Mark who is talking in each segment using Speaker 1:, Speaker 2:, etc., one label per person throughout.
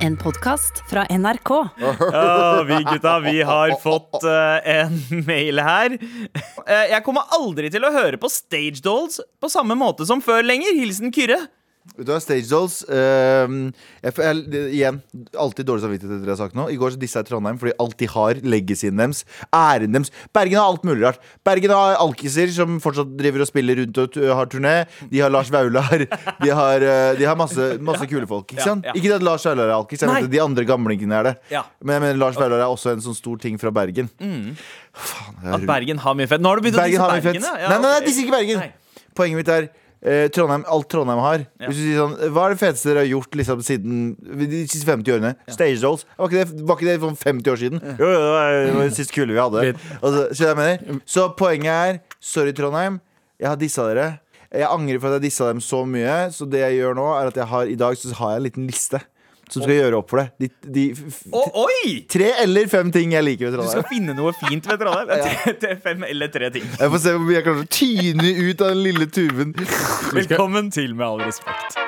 Speaker 1: En podkast fra NRK.
Speaker 2: Å, vi gutta, vi har fått eh, en mail her. Eh, jeg kommer aldri til å høre på Stage Dolls på samme måte som før lenger. Hilsen Kyrre.
Speaker 3: Vet du hva, Stage Dolls ehm, jeg, får- jeg, det- Igjen, alltid dårlig samvittighet etter det jeg har sagt nå. I går så dissa jeg Trondheim fordi alt de har, legacyen deres, æren deres Bergen har alt mulig rart. Bergen har alkiser som fortsatt driver og spiller rundt og tu- har turné. De har Lars Vaular. De har, eh, de har masse, masse kule folk. Ikke
Speaker 2: Ja,
Speaker 3: sant?
Speaker 2: ja.
Speaker 3: Ikke at Lars Vaular er alkis, jeg
Speaker 2: Nei.
Speaker 3: vet at de andre gamlingene er det.
Speaker 2: Ja. Mm.
Speaker 3: Men jeg mener Lars Vaular er også en sånn stor ting fra Bergen. Faen, jeg
Speaker 2: At Bergen har mye fett. Nå har du begynt
Speaker 3: Bergen
Speaker 2: å
Speaker 3: har mye
Speaker 2: disse
Speaker 3: fett.
Speaker 2: Bergen. ja. Ja,
Speaker 3: nei, nei, nei,
Speaker 2: ok.
Speaker 3: disse ikke Bergen.
Speaker 2: Nei.
Speaker 3: Poenget mitt er eh, Trondheim, alt Trondheim har.
Speaker 2: Ja.
Speaker 3: Hvis du sier sånn, Hva er det feteste dere har gjort liksom, siden de siste 50 årene? Stage dolls. Var ikke det, var ikke det for 50 år siden? Jo, jo, det var det var det siste kule vi hadde. Altså, skjønner du hva jeg mener? Så poenget er Sorry, Trondheim. Jeg har dissa dere. Jeg angrer for at jeg dissa dem så mye, så det jeg gjør nå, er at jeg har, i dag så har jeg en liten liste som skal gjøre opp for det. De, de f-
Speaker 2: Å, oi!
Speaker 3: tre eller fem ting jeg liker ved
Speaker 2: Du
Speaker 3: Trondheim.
Speaker 2: skal finne noe fint ved Trondheim. Tre- tre- Fem eller tre ting.
Speaker 3: Jeg får se hvor mye jeg klarer å tyne ut av den lille tuben.
Speaker 2: Velkommen til Med all respekt.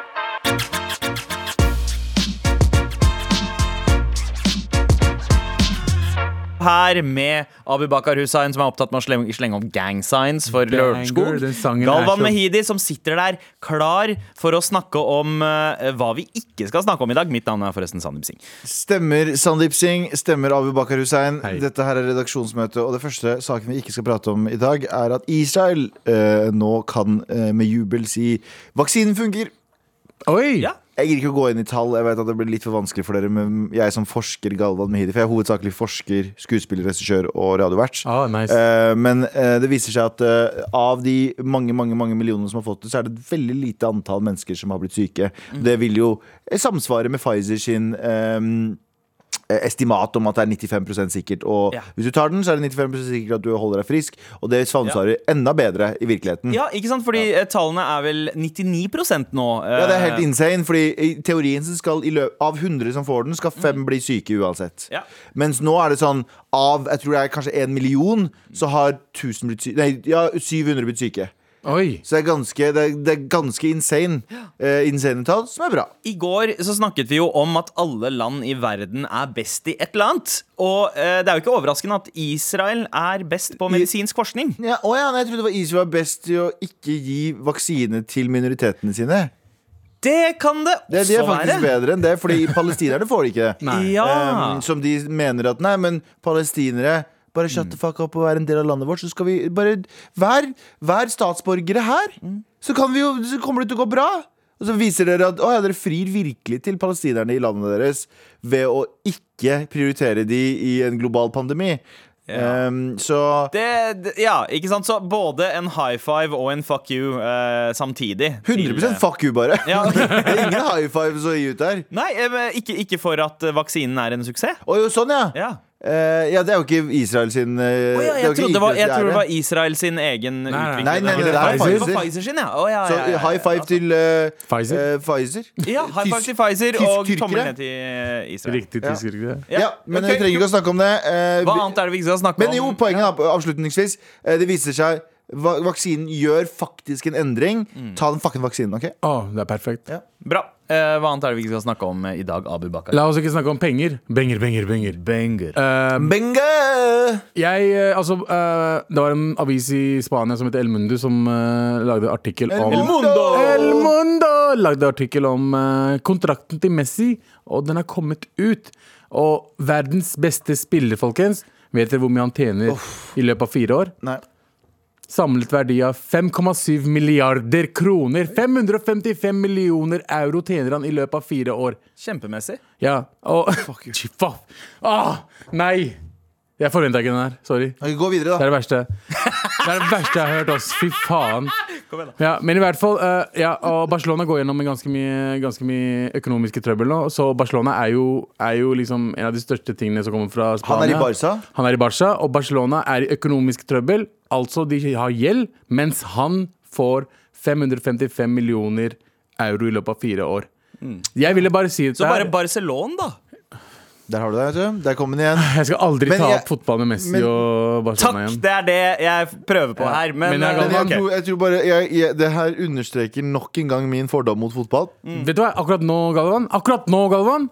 Speaker 2: Her med Abu Bakar Hussein, som er opptatt med å slenge, slenge om gang signs for
Speaker 4: Banger,
Speaker 2: Lørenskog.
Speaker 4: den sangen er
Speaker 2: Galvan
Speaker 4: så-
Speaker 2: Mehidi, som sitter der klar for å snakke om eh, hva vi ikke skal snakke om i dag. Mitt navn er forresten Sandeep Singh.
Speaker 3: Stemmer Sandeep Singh, stemmer Abu Bakar Hussein.
Speaker 4: Hei.
Speaker 3: Dette her er redaksjonsmøte, og det første saken vi ikke skal prate om i dag, er at Israel eh, nå kan eh, med jubel si vaksinen funker.
Speaker 4: Oi!
Speaker 2: Ja.
Speaker 3: Jeg gir ikke å gå inn i tall, jeg vet at det blir litt for vanskelig for dere, men jeg som forsker Galvan Mehidi, for jeg er hovedsakelig forsker, skuespiller, regissør og radiovert.
Speaker 4: Ah, nice.
Speaker 3: Eh, men eh, det viser seg at eh, av de mange mange, mange millionene som har fått det, så er det et veldig lite antall mennesker som har blitt syke.
Speaker 2: Mm.
Speaker 3: Det vil jo eh, samsvare med Pfizer sin ehm, eh, Estimat om at det er 95 sikkert. Og
Speaker 2: Ja.
Speaker 3: hvis du tar den, så er det 95 sikkert at du holder deg frisk. Og det samsvarer enda bedre i virkeligheten.
Speaker 2: Ja, ikke sant? Fordi eh, tallene er vel 99 nå. eh,
Speaker 3: Ja, det er helt insane, fordi i teorien så skal i løp, av 100 som får den, skal fem bli syke uansett.
Speaker 2: Mm. Ja.
Speaker 3: Mens nå er det sånn, av jeg tror det er kanskje en million, så har 1000 blitt syke, nei, ja, 700 blitt syke.
Speaker 4: Oi!
Speaker 3: Så det er ganske, det er, det er ganske insane, eh, insane tall, som er bra.
Speaker 2: I går så snakket vi jo om at alle land i verden er best i et eller annet. Og eh, det er jo ikke overraskende at Israel er best på medisinsk forskning.
Speaker 3: Ja, å ja, nei, jeg trodde det var Israel var best til å ikke gi vaksine til minoritetene sine.
Speaker 2: Det kan det også
Speaker 3: Det, de er
Speaker 2: være.
Speaker 3: faktisk bedre enn det, fordi palestinerne får det ikke.
Speaker 4: Nei.
Speaker 2: Ja.
Speaker 3: Ehm, som de mener at Nei, men palestinere bare shut
Speaker 2: Mm.
Speaker 3: the fuck up og vær en del av landet vårt. Så skal vi bare Vær, vær statsborgere her!
Speaker 2: Mm.
Speaker 3: Så, kan vi jo, så kommer det til å gå bra! Og så viser dere at å, ja, dere frir virkelig til palestinerne i landet deres ved å ikke prioritere de i en global pandemi. Ehm, så
Speaker 2: det, det, ja, ikke sant? Så både en high five og en fuck you eh, samtidig. til-
Speaker 3: 100 fuck you, bare.
Speaker 2: Ja.
Speaker 3: det er ingen high fives å gi ut der.
Speaker 2: Nei, eh, men ikke, ikke for at eh, vaksinen er en suksess.
Speaker 3: Å jo, sånn, ja.
Speaker 2: Ja.
Speaker 3: Eh, ja, det er jo ikke Israel sin eh,
Speaker 2: Å ja,
Speaker 3: det er jo
Speaker 2: jeg,
Speaker 3: ikke
Speaker 2: trodde det var, jeg
Speaker 3: Israel
Speaker 2: tror det
Speaker 3: ære.
Speaker 2: var Israel sin egen
Speaker 4: nei,
Speaker 2: utvikling.
Speaker 3: nei, nei,
Speaker 2: Det
Speaker 3: det
Speaker 2: var
Speaker 4: er
Speaker 2: Pfizer.
Speaker 3: Pfizer.
Speaker 2: Pfizer sin, ja. Å, ja,
Speaker 3: Så
Speaker 2: ja, ja, ja.
Speaker 3: high five til eh,
Speaker 4: Pfizer?
Speaker 3: eh, Pfizer.
Speaker 2: Ja, high five
Speaker 3: Tysk-
Speaker 2: til Pfizer og
Speaker 3: tysk-tyrkere.
Speaker 2: tommel ned til eh, Israel.
Speaker 4: Riktig
Speaker 3: Ja.
Speaker 4: tysk, ikke det?
Speaker 3: Ja, men vi trenger ikke å snakke om det.
Speaker 2: Hva
Speaker 3: eh, vi-
Speaker 2: annet er det vi ikke skal snakke
Speaker 3: men
Speaker 2: om?
Speaker 3: jo, poenget da, avslutningsvis. eh, det viser seg va vaksinen gjør faktisk en endring.
Speaker 2: Mm.
Speaker 3: Ta den fucking vaksinen, OK?
Speaker 4: Å, det er perfekt.
Speaker 3: Ja.
Speaker 2: Bra. Eh, hva annet er det vi ikke skal snakke om eh, i dag, Abu Bakar?
Speaker 4: La oss ikke snakke om penger. Benger, benger, benger.
Speaker 2: Banger.
Speaker 4: Eh,
Speaker 3: Benga!
Speaker 4: jeg, eh, altså, eh, det var en avis i Spania som het El Mundo, som eh, lagde artikkel om
Speaker 2: Mundo.
Speaker 4: El Mundo! Lagde artikkel om eh, kontrakten til Messi, og den er kommet ut. Og verdens beste spiller, folkens. Vet dere hvor mye han tjener i løpet av fire år?
Speaker 3: Nei.
Speaker 4: Samlet verdi av 5,7 milliarder kroner. 555 millioner euro tjener han i løpet av fire år.
Speaker 2: Kjempemessig.
Speaker 4: Ja, og Fy faen. Ah, nei! Jeg forventa ikke den her. Sorry.
Speaker 3: Ok, gå videre,
Speaker 4: Det
Speaker 3: da.
Speaker 4: er det verste. Det er det verste jeg har hørt. Ass. Fy faen. Ja, men i hvert fall, eh, ja, og Barcelona går gjennom en ganske mye, ganske mye økonomiske trøbbel nå. Så Barcelona er jo, er jo liksom en av de største tingene som kommer fra Spania.
Speaker 3: Han er i Barca.
Speaker 4: Han er i Barca, og Barcelona er i økonomisk trøbbel. Altså, de har gjeld, mens han får 555 millioner euro i løpet av fire år. Jeg ville bare si
Speaker 2: Mm. Så
Speaker 4: det her.
Speaker 2: bare Barcelona, da.
Speaker 3: Der har du det. vet du Der kom den igjen.
Speaker 4: Jeg skal aldri
Speaker 3: Men
Speaker 4: ta
Speaker 3: jeg-
Speaker 4: opp fotball med Messi
Speaker 3: men-
Speaker 2: Takk!
Speaker 4: og Barcelona igjen.
Speaker 2: Det er det jeg prøver på her. Men,
Speaker 4: Men jeg
Speaker 2: eh,
Speaker 3: Men jeg
Speaker 4: ok.
Speaker 3: tror, jeg tror bare jeg, jeg, Det her
Speaker 4: Mm.
Speaker 3: understreker nok en gang min fordom mot fotball.
Speaker 4: Vet du hva, akkurat nå, Galvan Akkurat nå, Galvan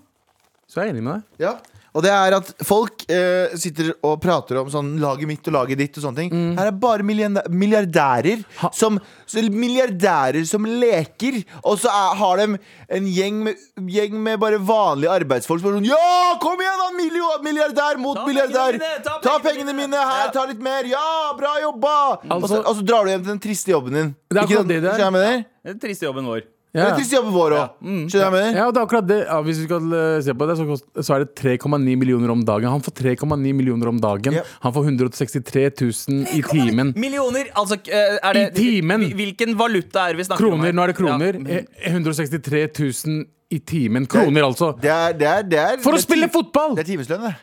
Speaker 4: Så jeg er enig med deg.
Speaker 3: Ja. Og det er at folk eh, sitter og prater om sånn laget mitt og laget ditt og sånne ting.
Speaker 4: Mm.
Speaker 3: Her er bare millienda- milliardærer som, så milliardærer som leker, og så er, har de en gjeng med, gjeng med bare vanlige arbeidsfolk som er sånn Ja, kom igjen, da! Miljo, milliardær mot
Speaker 2: Ta
Speaker 3: milliardær!
Speaker 2: pengene mine,
Speaker 3: ta,
Speaker 2: ta
Speaker 3: pengene
Speaker 2: pengene mine!»
Speaker 3: mine her,
Speaker 2: Ja.
Speaker 3: ta litt mer! Ja, bra jobba! og, så,
Speaker 4: Altså-
Speaker 3: og så drar du hjem til den triste jobben din.
Speaker 4: Det er akkurat
Speaker 3: sant?
Speaker 4: det det er.
Speaker 3: Skjønner jeg med det?
Speaker 2: Det er den triste jobben vår.
Speaker 4: Ja.
Speaker 3: Den triste jobben vår òg. Skjønner jeg med det?
Speaker 4: Ja, og det er akkurat det. Ja, hvis vi skal eh, se på det, så, kost- så er det 3,9 millioner om dagen. Han får 3,9 millioner om dagen.
Speaker 3: Ja.
Speaker 4: Han får 163 000 i timen.
Speaker 2: Millioner! Altså, eh, er det
Speaker 4: I timen.
Speaker 2: hvil- Hvilken valuta er det vi snakker om?
Speaker 4: Kroner,
Speaker 2: her?
Speaker 4: nå er det kroner.
Speaker 2: Ja.
Speaker 4: Eh, 163 000 i timen. Kroner, altså.
Speaker 3: Det er, det er, det er
Speaker 4: For å
Speaker 3: det er ti-
Speaker 4: spille fotball!
Speaker 3: Det er timeslønn, det.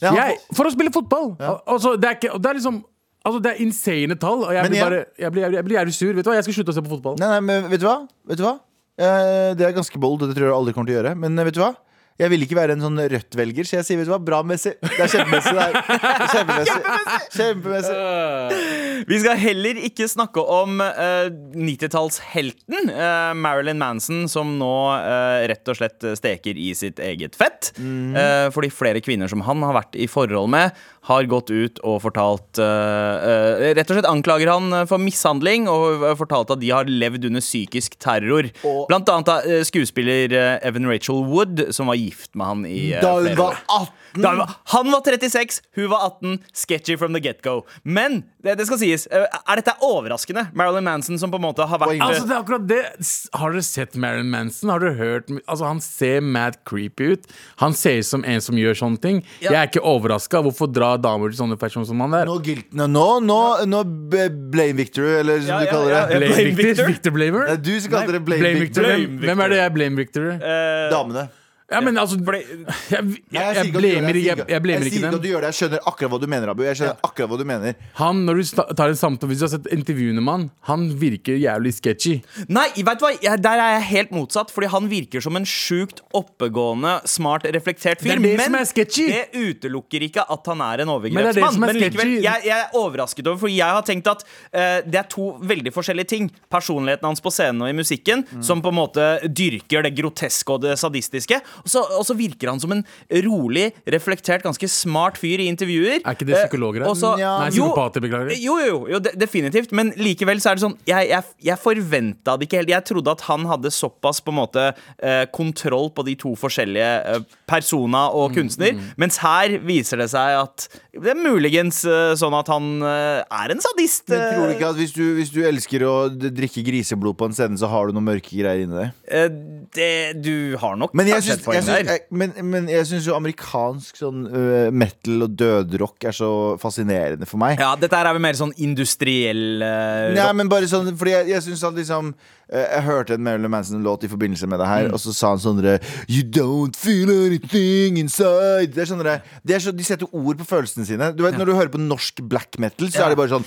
Speaker 3: Ja, han
Speaker 4: Jeg, for å spille fotball! Al- Altså, det er ikke og Det er liksom Altså, det er insane tall, og jeg
Speaker 3: Men
Speaker 4: blir
Speaker 3: igjen-
Speaker 4: bare Jeg blir, jeg blir, jeg blir jævlig sur. Vet du hva, jeg skal slutte å se på fotball.
Speaker 3: Nei, nei, men vet du hva? Vet du hva? Eh, det er ganske bold, og det tror jeg aldri kommer til å gjøre. Men eh, vet du hva? Jeg vil ikke være en sånn Rødt-velger, så jeg sier vet du hva? bra Messi. Det er kjempemessig. Det er kjempemessig. kjempemessig.
Speaker 2: Vi skal heller ikke snakke om eh, 90-tallshelten eh, Marilyn Manson, som nå eh, rett og slett steker i sitt eget fett.
Speaker 3: Mhm.
Speaker 2: Eh, fordi flere kvinner som han har vært i forhold med, har gått ut og fortalt eh, eh, Rett og slett anklager han eh, for mishandling og eh, fortalt at de har levd under psykisk terror.
Speaker 3: Og-
Speaker 2: Blant annet av eh, skuespiller eh, Evan Rachel Wood, som var gift med han i eh,
Speaker 3: Da hun
Speaker 2: flere
Speaker 3: var
Speaker 2: år.
Speaker 3: 18
Speaker 2: Da hun var, han var 36, hun var 18. Sketchy from the get-go. Men det, det skal sies, eh, er dette overraskende? Marilyn Manson som på en måte har vært
Speaker 3: Oi.
Speaker 4: Altså, det er akkurat det. S- Har dere sett Marilyn Manson? Har dere hørt m- Altså, han ser mad creepy ut. Han ser ut som en som gjør sånne ting.
Speaker 2: Ja.
Speaker 4: Jeg er ikke overraska. Hvorfor dra damer til sånne fashion som han der?
Speaker 3: Nå guilt- Nå, nå, nå, nå b- blame victory, eller som
Speaker 2: Ja,
Speaker 3: du
Speaker 2: ja,
Speaker 3: kaller
Speaker 2: ja, ja.
Speaker 3: det.
Speaker 4: Blame
Speaker 2: Blame
Speaker 4: Victor?
Speaker 2: Victor?
Speaker 4: Victor Blamer?
Speaker 3: Nei, du som kaller det blame,
Speaker 4: Blame Victor.
Speaker 3: victory.
Speaker 4: Hvem,
Speaker 2: Blame
Speaker 4: hvem
Speaker 2: Victor.
Speaker 4: er
Speaker 2: Eh,
Speaker 4: det jeg blame Victor?
Speaker 3: Damene.
Speaker 4: ja, men altså
Speaker 2: fordi-
Speaker 4: Jeg,
Speaker 3: Nei, sier
Speaker 4: jeg, jeg
Speaker 3: ikke at du gjør
Speaker 4: blamer
Speaker 3: det,
Speaker 4: ikke,
Speaker 3: sier
Speaker 4: jeg, jeg blamer
Speaker 3: Jeg
Speaker 4: ikke
Speaker 3: sier
Speaker 4: dem.
Speaker 3: ikke at du gjør det. Jeg skjønner akkurat hva du mener, Abu. Jeg skjønner akkurat hva du mener.
Speaker 4: Han, når du sta- tar en samtale Hvis du har sett intervjuene med han, han virker jævlig sketchy.
Speaker 2: Nei, vet du hva? Jeg, der er jeg helt motsatt, fordi han virker som en sjukt oppegående, smart, reflektert fyr.
Speaker 4: Det er det
Speaker 2: men
Speaker 4: som er sketchy.
Speaker 2: det utelukker ikke at han er en
Speaker 4: Men det er det
Speaker 2: overgrepsmann.
Speaker 4: som er
Speaker 2: Men, likevel,
Speaker 4: sketchy.
Speaker 2: jeg, jeg er overrasket over, for jeg har tenkt at eh, det er to veldig forskjellige ting. Personligheten hans på scenen og i musikken,
Speaker 4: Mm.
Speaker 2: som på en måte dyrker det groteske og det sadistiske. Og så, og så virker han som en rolig, reflektert, ganske smart fyr i intervjuer.
Speaker 4: Er ikke det psykologer er?
Speaker 2: Eh, og så-
Speaker 3: Nja. Nei,
Speaker 2: Jo, Eh,
Speaker 4: psykopater, beklager.
Speaker 2: Jo, jo, jo de definitivt. Men likevel så er det sånn Jeg, jeg, jeg forventa det ikke helt. Jeg trodde at han hadde såpass på en måte eh, kontroll på de to forskjellige eh, persona og kunstner. Mens her viser det seg at det er muligens eh, sånn at han eh, er en sadist.
Speaker 3: Men tror du
Speaker 2: eh,
Speaker 3: ikke at hvis du, hvis du elsker å d- drikke griseblod på en scene, så har du noen mørke greier inni deg?
Speaker 2: eh, det, du har nok
Speaker 3: Men jeg
Speaker 2: kanskje et
Speaker 3: syns,
Speaker 2: poeng
Speaker 3: jeg syns,
Speaker 2: der.
Speaker 3: jeg, men, men jeg syns jo amerikansk sånn øh, metal og dødrock er så fascinerende for meg.
Speaker 2: Ja, dette her er vel mer sånn industriell eh,
Speaker 3: Nei, men bare sånn, fordi jeg, jeg synes at liksom eh, Jeg hørte en Marilyn Manson-låt i forbindelse med det her,
Speaker 2: Mm.
Speaker 3: og så sa han sånn derre, You don't feel anything inside. Det er sånn derre- det er så, De setter ord på følelsene sine. Du vet, Når du hører på norsk black metal, så er det bare sånn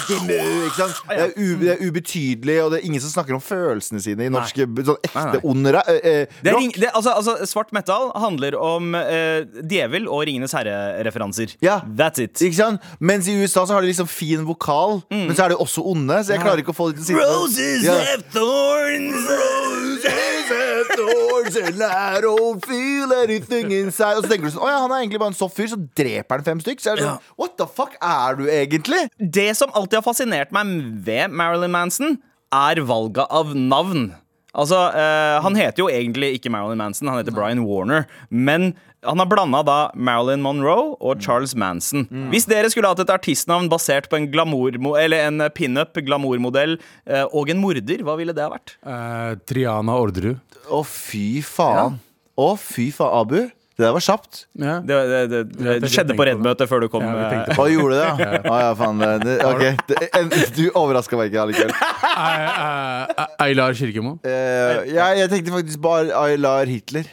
Speaker 3: Ikke sant? Det er, u, det er ubetydelig, og det er ingen som snakker om følelsene sine i norske sånn
Speaker 2: Nei, nei.
Speaker 3: ekte ond ra- eh, eh,
Speaker 2: Det er
Speaker 3: rock.
Speaker 2: ring, det, altså, altså, svart metal handler om eh, djevel og Ringenes herre-referanser.
Speaker 3: Ja.
Speaker 2: That's it.
Speaker 3: Ikke sant? Mens i USA så har de liksom fin vokal, men så er de også onde. Så jeg klarer ikke å få det til å sitte
Speaker 2: Roses
Speaker 3: Ja.
Speaker 2: have thorns.
Speaker 3: Roses have thorns and I don't feel anything inside. Og så tenker du sånn, å ja, han er egentlig bare en soft fyr, så dreper han fem stykk. Så er det sånn, what the fuck er du egentlig?
Speaker 2: Det som alltid har fascinert meg ved Marilyn Manson, er valget av navn. Altså, eh, Han heter jo egentlig ikke Marilyn Manson, han heter Brian Warner. Men han har blanda da Marilyn Monroe og Charles Manson. Hvis dere skulle hatt et artistnavn basert på en, glamourmo- eller en pinup, glamourmodell eh, og en morder, hva ville det ha vært?
Speaker 4: Eh, Triana Orderud.
Speaker 3: Å fy faen. Å fy faen, Abu. Det der var kjapt.
Speaker 4: Ja.
Speaker 2: Det, det, det, det, skjedde
Speaker 4: tenkte-
Speaker 2: på
Speaker 4: tenkte på
Speaker 2: reddmøtet før du kom.
Speaker 4: Ja, vi
Speaker 2: eh,
Speaker 4: tenkte
Speaker 3: Hva gjorde du det? ja? Å ja, faen. det- Det, ok, det, en, du overraska meg ikke allikevel.
Speaker 4: Eh, eh, Eilar Kirkemo.
Speaker 3: Eh, jeg, jeg tenkte faktisk bare Aylar Hitler.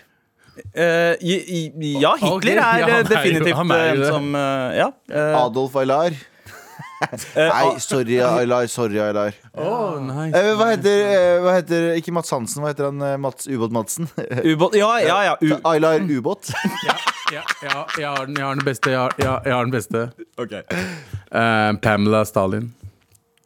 Speaker 2: Eh, i- i- ja, Hitler
Speaker 4: Ok,
Speaker 2: er
Speaker 4: ja, han
Speaker 2: eh,
Speaker 4: er jo-
Speaker 2: definitivt
Speaker 4: han er jo
Speaker 2: en
Speaker 4: det.
Speaker 2: som eh, Ja. ah. eh,
Speaker 3: Adolf Aylar. Nei, sorry, Aylar. Sorry, Aylar.
Speaker 4: Oh, nice.
Speaker 3: Eh, hva, heter, eh, hva heter Ikke Mats Hansen, hva heter han? eh, Mats Ubåt Madsen?
Speaker 2: Ubåt Ja, ja, ja. U
Speaker 3: Aylar Ubåt.
Speaker 4: Ja, ja, jeg, har den, jeg har den beste. Jeg har, jeg, jeg har den beste. Eh, Pamela Stalin.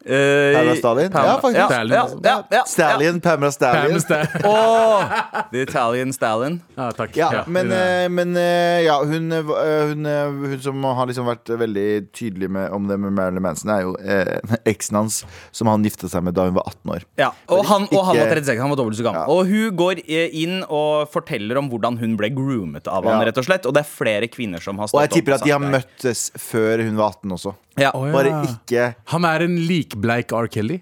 Speaker 2: Eh,
Speaker 3: Pamela Stalin?
Speaker 4: Pamela-
Speaker 3: Ja, faktisk.
Speaker 2: Ja,
Speaker 4: Stalin,
Speaker 2: ja,
Speaker 4: altså.
Speaker 2: ja, ja,
Speaker 3: Stalin, Pamela Stalin.
Speaker 4: Pamela Stalin.
Speaker 2: Åh, the Italian Stalin.
Speaker 4: Ja, takk.
Speaker 3: Ja,
Speaker 4: Ja,
Speaker 3: men,
Speaker 4: det
Speaker 3: eh,
Speaker 4: er-
Speaker 3: men eh, ja, hun, eh, hun, eh, hun som har liksom vært veldig tydelig med, om det med Marilyn Manson, er jo eh, eksen hans, som han gifta seg med da hun var 18 år.
Speaker 2: Ja, og han, og han var
Speaker 3: Ikke-
Speaker 2: 36, han var dobbelt så gammel.
Speaker 3: Ja.
Speaker 2: Og hun går eh, inn og forteller om hvordan hun ble groomet av han,
Speaker 3: Ja.
Speaker 2: rett og slett. Og det er flere kvinner som har
Speaker 3: Og
Speaker 2: stått
Speaker 3: jeg tipper
Speaker 2: opp
Speaker 3: at de har
Speaker 2: sagt det.
Speaker 3: møttes før hun var 18 også.
Speaker 2: Ja.
Speaker 4: Å, ja.
Speaker 3: Bare ikke
Speaker 4: Han er en likbleik R. Kelly.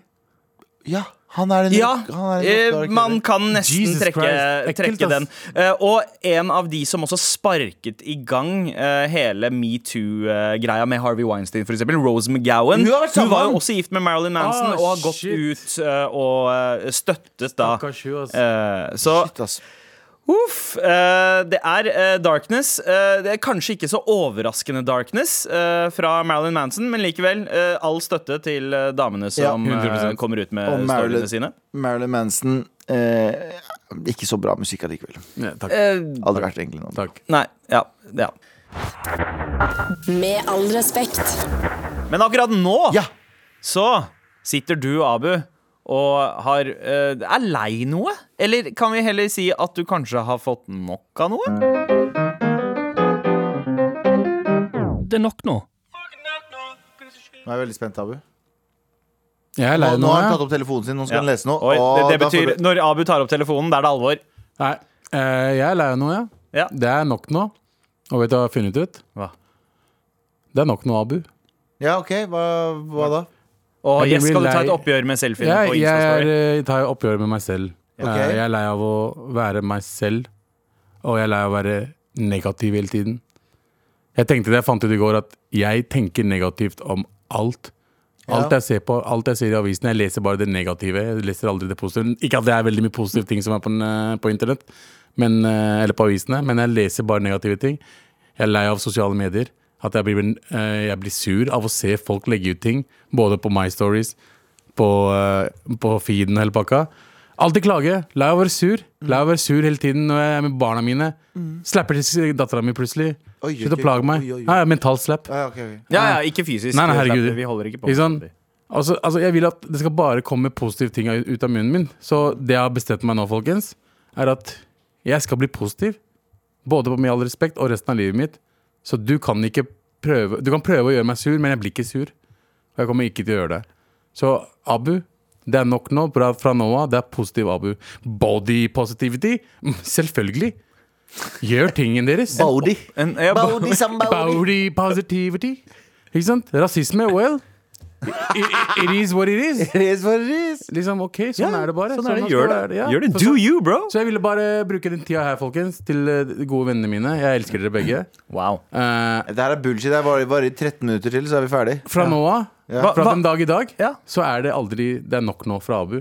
Speaker 3: Ja, han er en
Speaker 2: Ja,
Speaker 3: han er en-
Speaker 2: eh, man kan nesten
Speaker 4: Jesus
Speaker 2: trekke,
Speaker 4: Christ, ekkelt,
Speaker 2: trekke
Speaker 4: ass.
Speaker 2: den. Eh, og en av de som også sparket i gang eh, hele metoo-greia med Harvey Weinstein, f.eks., Rose McGowan.
Speaker 3: Hun har vært sammen
Speaker 2: var
Speaker 3: med
Speaker 2: jo
Speaker 3: han.
Speaker 2: også gift med Marilyn Manson
Speaker 4: Ah,
Speaker 2: og har gått
Speaker 4: shit.
Speaker 2: ut eh, og eh, støttes da.
Speaker 4: Stakkars hun, ass.
Speaker 2: Eh, så
Speaker 3: Shit, ass.
Speaker 2: Uff, eh, det er eh, Darkness. Eh, det er kanskje ikke så overraskende Darkness eh, fra Marilyn Manson, men likevel eh, all støtte til eh, damene som eh,
Speaker 4: 100%.
Speaker 2: kommer ut med
Speaker 3: Og Marilyn-
Speaker 2: storyene sine.
Speaker 3: Marilyn Manson eh, Ikke så bra musikk allikevel.
Speaker 4: Ja, takk.
Speaker 2: Eh,
Speaker 3: Aldri vært egentlig noe.
Speaker 4: takk.
Speaker 2: nei, ja, ja.
Speaker 1: Med all respekt.
Speaker 2: Men akkurat nå
Speaker 3: Ja!
Speaker 2: så sitter du, Abu, og har eh, er lei noe? Eller kan vi heller si at du kanskje har fått nok av noe?
Speaker 5: Det er nok nå.
Speaker 3: Nå er jeg veldig spent, Abu.
Speaker 4: Jeg er
Speaker 3: Nå,
Speaker 4: lei
Speaker 3: nå
Speaker 4: nå,
Speaker 3: har han
Speaker 4: jeg.
Speaker 3: tatt opp telefonen sin, nå skal han lese noe.
Speaker 2: Oi, det,
Speaker 3: og
Speaker 2: det
Speaker 3: da får
Speaker 2: betyr
Speaker 3: du-
Speaker 2: når Abu tar opp telefonen, da er det alvor.
Speaker 4: Nei, eh, jeg er lei nå, jeg.
Speaker 2: Ja.
Speaker 4: Det er nok nå. Og vet du hva jeg har funnet ut?
Speaker 2: Hva?
Speaker 4: Det er nok nå, Abu.
Speaker 3: Ja, OK, hva, hva da?
Speaker 2: Og
Speaker 4: Jeg
Speaker 2: yes,
Speaker 4: blir
Speaker 2: skal du ta
Speaker 4: lei.
Speaker 2: et oppgjør med selfiene
Speaker 4: Jeg,
Speaker 2: på
Speaker 4: jeg, er,
Speaker 2: Insta-story?
Speaker 4: eh, tar oppgjør med meg selv. Eh,
Speaker 3: Ok.
Speaker 4: Jeg er lei av å være meg selv, og jeg er lei av å være negativ hele tiden. Jeg tenkte det jeg fant ut i går, at jeg tenker negativt om alt. Alt
Speaker 3: Ja.
Speaker 4: jeg ser på, alt jeg ser i avisen, jeg leser bare det negative. Jeg leser aldri det positive. Ikke at det er veldig mye positive ting som er på, den, eh, på internett, men, eh, eller på avisene, men jeg leser bare negative ting. Jeg er lei av sosiale medier. At jeg blir, eh, jeg blir sur av å se folk legge ut ting, både på My Stories, på, eh, på feeden og hele pakka. Alltid klage. Lei av å være sur. Lei av å være sur hele tiden når jeg er med barna mine. Slapper til dattera mi
Speaker 3: Mm.
Speaker 4: plutselig.
Speaker 3: Oi,
Speaker 4: Slutt
Speaker 3: oi,
Speaker 4: å plage meg.
Speaker 3: oi, oi, oi.
Speaker 4: Ja, ja, mental slap.
Speaker 3: Ja, ok, ok.
Speaker 2: Ja, ja, ikke fysisk.
Speaker 4: Nei, nei, herregud.
Speaker 2: Vi holder ikke på.
Speaker 4: Ikke sant? Altså, altså, jeg vil at det skal bare komme positive ting ut ut av munnen min. Så det jeg har bestemt meg nå, folkens, er at jeg skal bli positiv. Både på Med all respekt og resten av livet mitt. Så du kan ikke prøve Du kan prøve å gjøre meg sur, men jeg blir ikke sur. Og jeg kommer ikke til å gjøre det. Så Abu, det er nok nå. Bra fra nå av, det er positiv Abu. Body positivity? Mm, Selvfølgelig. Gjør tingen deres.
Speaker 3: Baudi.
Speaker 2: En, ja,
Speaker 3: Baudi Sambaudi.
Speaker 4: Body positivity. Ikke sant? Rasisme, well. It, it- it is what it is.
Speaker 3: Ris for ris.
Speaker 4: Liksom, ok, sånn er det bare.
Speaker 2: Sånn er det.
Speaker 4: skal
Speaker 2: Gjør
Speaker 4: være,
Speaker 2: det.
Speaker 4: ja. Altså,
Speaker 2: Gjør det.
Speaker 4: Så-
Speaker 2: Do you, bro!
Speaker 4: Så jeg ville bare bruke den tida her, folkens, til eh, de gode vennene mine. Jeg elsker dere begge.
Speaker 2: Wow.
Speaker 4: Eh,
Speaker 3: Det her er bullshit. Det varer bare i 13 minutter til, så er vi ferdig.
Speaker 4: fra nå av,
Speaker 3: Ja.
Speaker 4: fra
Speaker 2: Hva-
Speaker 4: den dag i dag,
Speaker 2: Ja.
Speaker 4: så er det aldri Det er nok nå fra Abu.